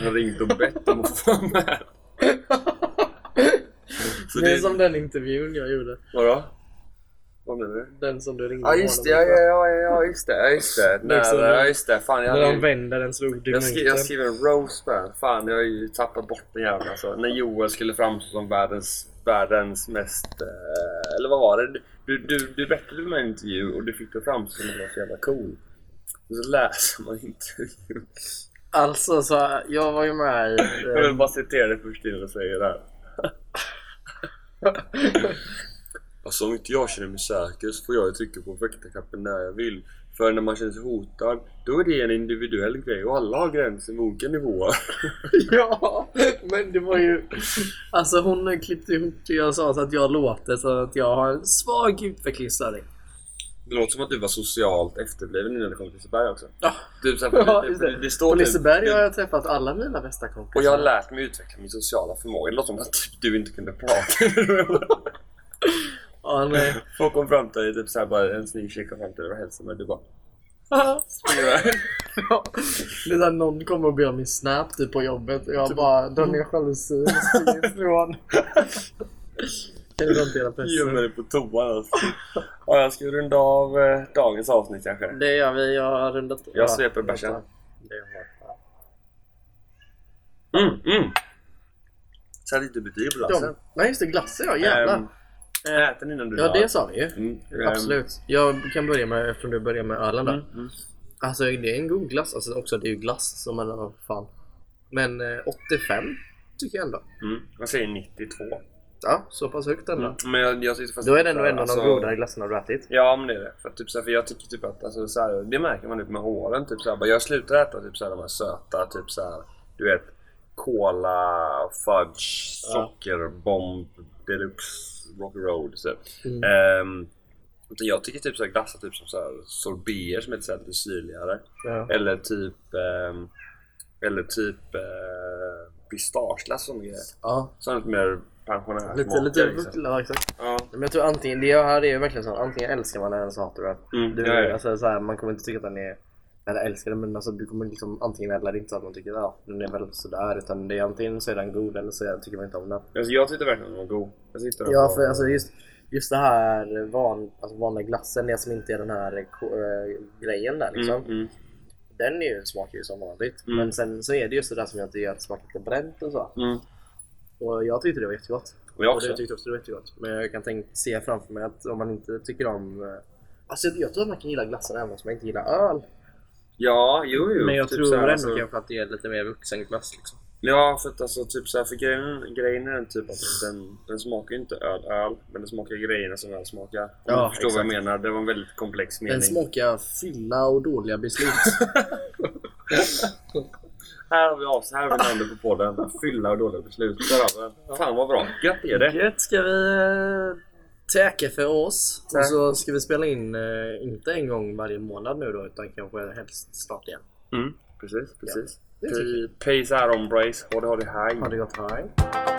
S1: har ringt och bett om att få vara med. Så
S2: det är som den intervjun jag gjorde.
S1: Vadå? Vad menar du?
S2: Den som du ringde
S1: Ja just det, ja, ja, ja, ja just det, ja, just det.
S2: Liksom,
S1: När, ja, just det. Fan, jag
S2: När
S1: hade
S2: de
S1: ju-
S2: vänder den så upp
S1: jag, skri, jag skriver en roast på den. Fan, jag har ju tappat bort den jäveln alltså. När Joel skulle framstå som världens, världens mest... Eh, eller vad var det? Du, du, du berättade för mig en intervju och du fick det framstå som att jag var så jävla cool. Och så läser man intervjun.
S2: Alltså så här, jag var ju med i...
S1: Jag vill bara citera det först innan du säger det här. Alltså om inte jag känner mig säker så får jag ju trycka på väktarknappen när jag vill. För när man känner sig hotad, då är det en individuell grej och alla har gränser med olika nivåer.
S2: ja, men det var ju... Alltså hon klippte ihop det jag sa så att jag låter så att jag har en svag utvecklingsstörning.
S1: Det låter som att du var socialt efterbliven innan du kom till Liseberg också.
S2: Ja.
S1: Du, så här,
S2: Ja,
S1: det-
S2: just
S1: det,
S2: det.
S1: det står
S2: På
S1: typ-
S2: Liseberg har
S1: det-
S2: jag träffat alla mina bästa kompisar.
S1: Och jag har lärt mig utveckla min sociala förmåga. Det låter som att typ du inte kunde prata.
S2: Ja, nej.
S1: Folk kom fram till dig, typ såhär bara en snygg tjej kom fram till dig och hälsade mig. Du bara... "Springer iväg."
S2: Det är där någon kommer och ber om min snap typ på jobbet och jag bara drar ner jalusin och springer ifrån. Kan du hantera
S1: Gömmer
S2: pressen?
S1: dig på toan alltså. Ja, jag ska runda av eh, dagens avsnitt kanske.
S2: Det gör vi. Jag har rundat
S1: Jag sveper bärsen.
S2: Det har jag.
S1: Mm, mm. Så här lite betyg på glassen.
S2: De, nej just det, glassen ja.
S1: Alltså. Ehm,
S2: Jävlar.
S1: Ät den innan du
S2: Ja
S1: drar.
S2: det sa vi ju.
S1: Mm, ehm,
S2: Absolut. Jag kan börja med, eftersom du börjar med ölen där.
S1: Mm, mm.
S2: Alltså det är en god glass. Alltså också det är ju glass som man har fan. Men eh, 85 tycker jag ändå.
S1: Mm. Jag säger 92.
S2: Ja, så pass högt ändå.
S1: Mm. Men jag, jag tyckte fast
S2: Då är det ändå en av
S1: Alltså,
S2: de godare glassarna du har ätit.
S1: Ja men det är det. För, att typ, så här, för jag tycker typ att alltså, så här, det märker man typ med åren. Typ, så här, bara, jag slutar äta typ, så här, de här söta, typ så här, du vet Cola, fudge,
S2: Ja.
S1: sockerbomb, deluxe, rock road. Så.
S2: Mm.
S1: Ehm, utan jag tycker typ så här, glassar typ som så här, sorbier som är lite, så här, lite syrligare.
S2: Ja.
S1: Eller typ ehm, Eller typ eh, pistageglass och såna grejer.
S2: Ja,
S1: Sånt lite mer pensionärsmakare.
S2: lite, lite
S1: liksom.
S2: buckla exakt.
S1: Ja.
S2: Men jag tror antingen, det jag här är ju verkligen så här, antingen älskar man den eller så hatar du den.
S1: Mm,
S2: Du,
S1: ja, ja.
S2: alltså, så här, man kommer inte tycka att den är, eller älskar den, men alltså, du kommer liksom antingen eller det är inte så att man tycker ja, den är väl sådär. Utan det är antingen så är den god eller så är- tycker man inte om den.
S1: Alltså, jag tyckte verkligen att den var god. Jag tyckte den
S2: Ja,
S1: var-
S2: för alltså just, just det här van, alltså vanliga glassen, det som inte är den här ko- eh, grejen där liksom.
S1: Mm, mm,
S2: Den är ju, smakar ju som vanligt.
S1: Mm.
S2: Men sen så är det just det där som jag inte gör att det smakar lite bränt och så.
S1: mm.
S2: Och jag tyckte det var jättegott.
S1: Och jag
S2: Och
S1: också.
S2: det tyckte också det var jättegott. Men jag kan tänk, se framför mig att om man inte tycker om... eh, Alltså jag, jag tror att man kan gilla glassen även om man inte gillar öl.
S1: Ja, jo, jo.
S2: men jag
S1: typ
S2: tror
S1: så här,
S2: ändå
S1: alltså-
S2: kanske att det är lite mer vuxenglass liksom.
S1: Ja, för att alltså typ så här, för grejen, grejen är den typ att den, den smakar ju inte öl, öl, men den smakar grejerna som öl smakar. Om
S2: Ja,
S1: du förstår vad jag
S2: exakt.
S1: menar. Det var en väldigt komplex mening.
S2: Den smakar fylla och dåliga beslut.
S1: Här har vi avs, här har vi namnet på podden. Fylla och dåliga beslut. Där har vi den. Fan vad bra. Gött är det.
S2: Gött, ska vi eh, täcka för oss?
S1: Tack.
S2: Och så ska vi spela in, eh, inte en gång varje månad nu då, utan kanske helst snart igen.
S1: Mm, precis, precis.
S2: det tycker
S1: Peace out on brace. Ha det, ha det, hej.
S2: Ha det gott, hej!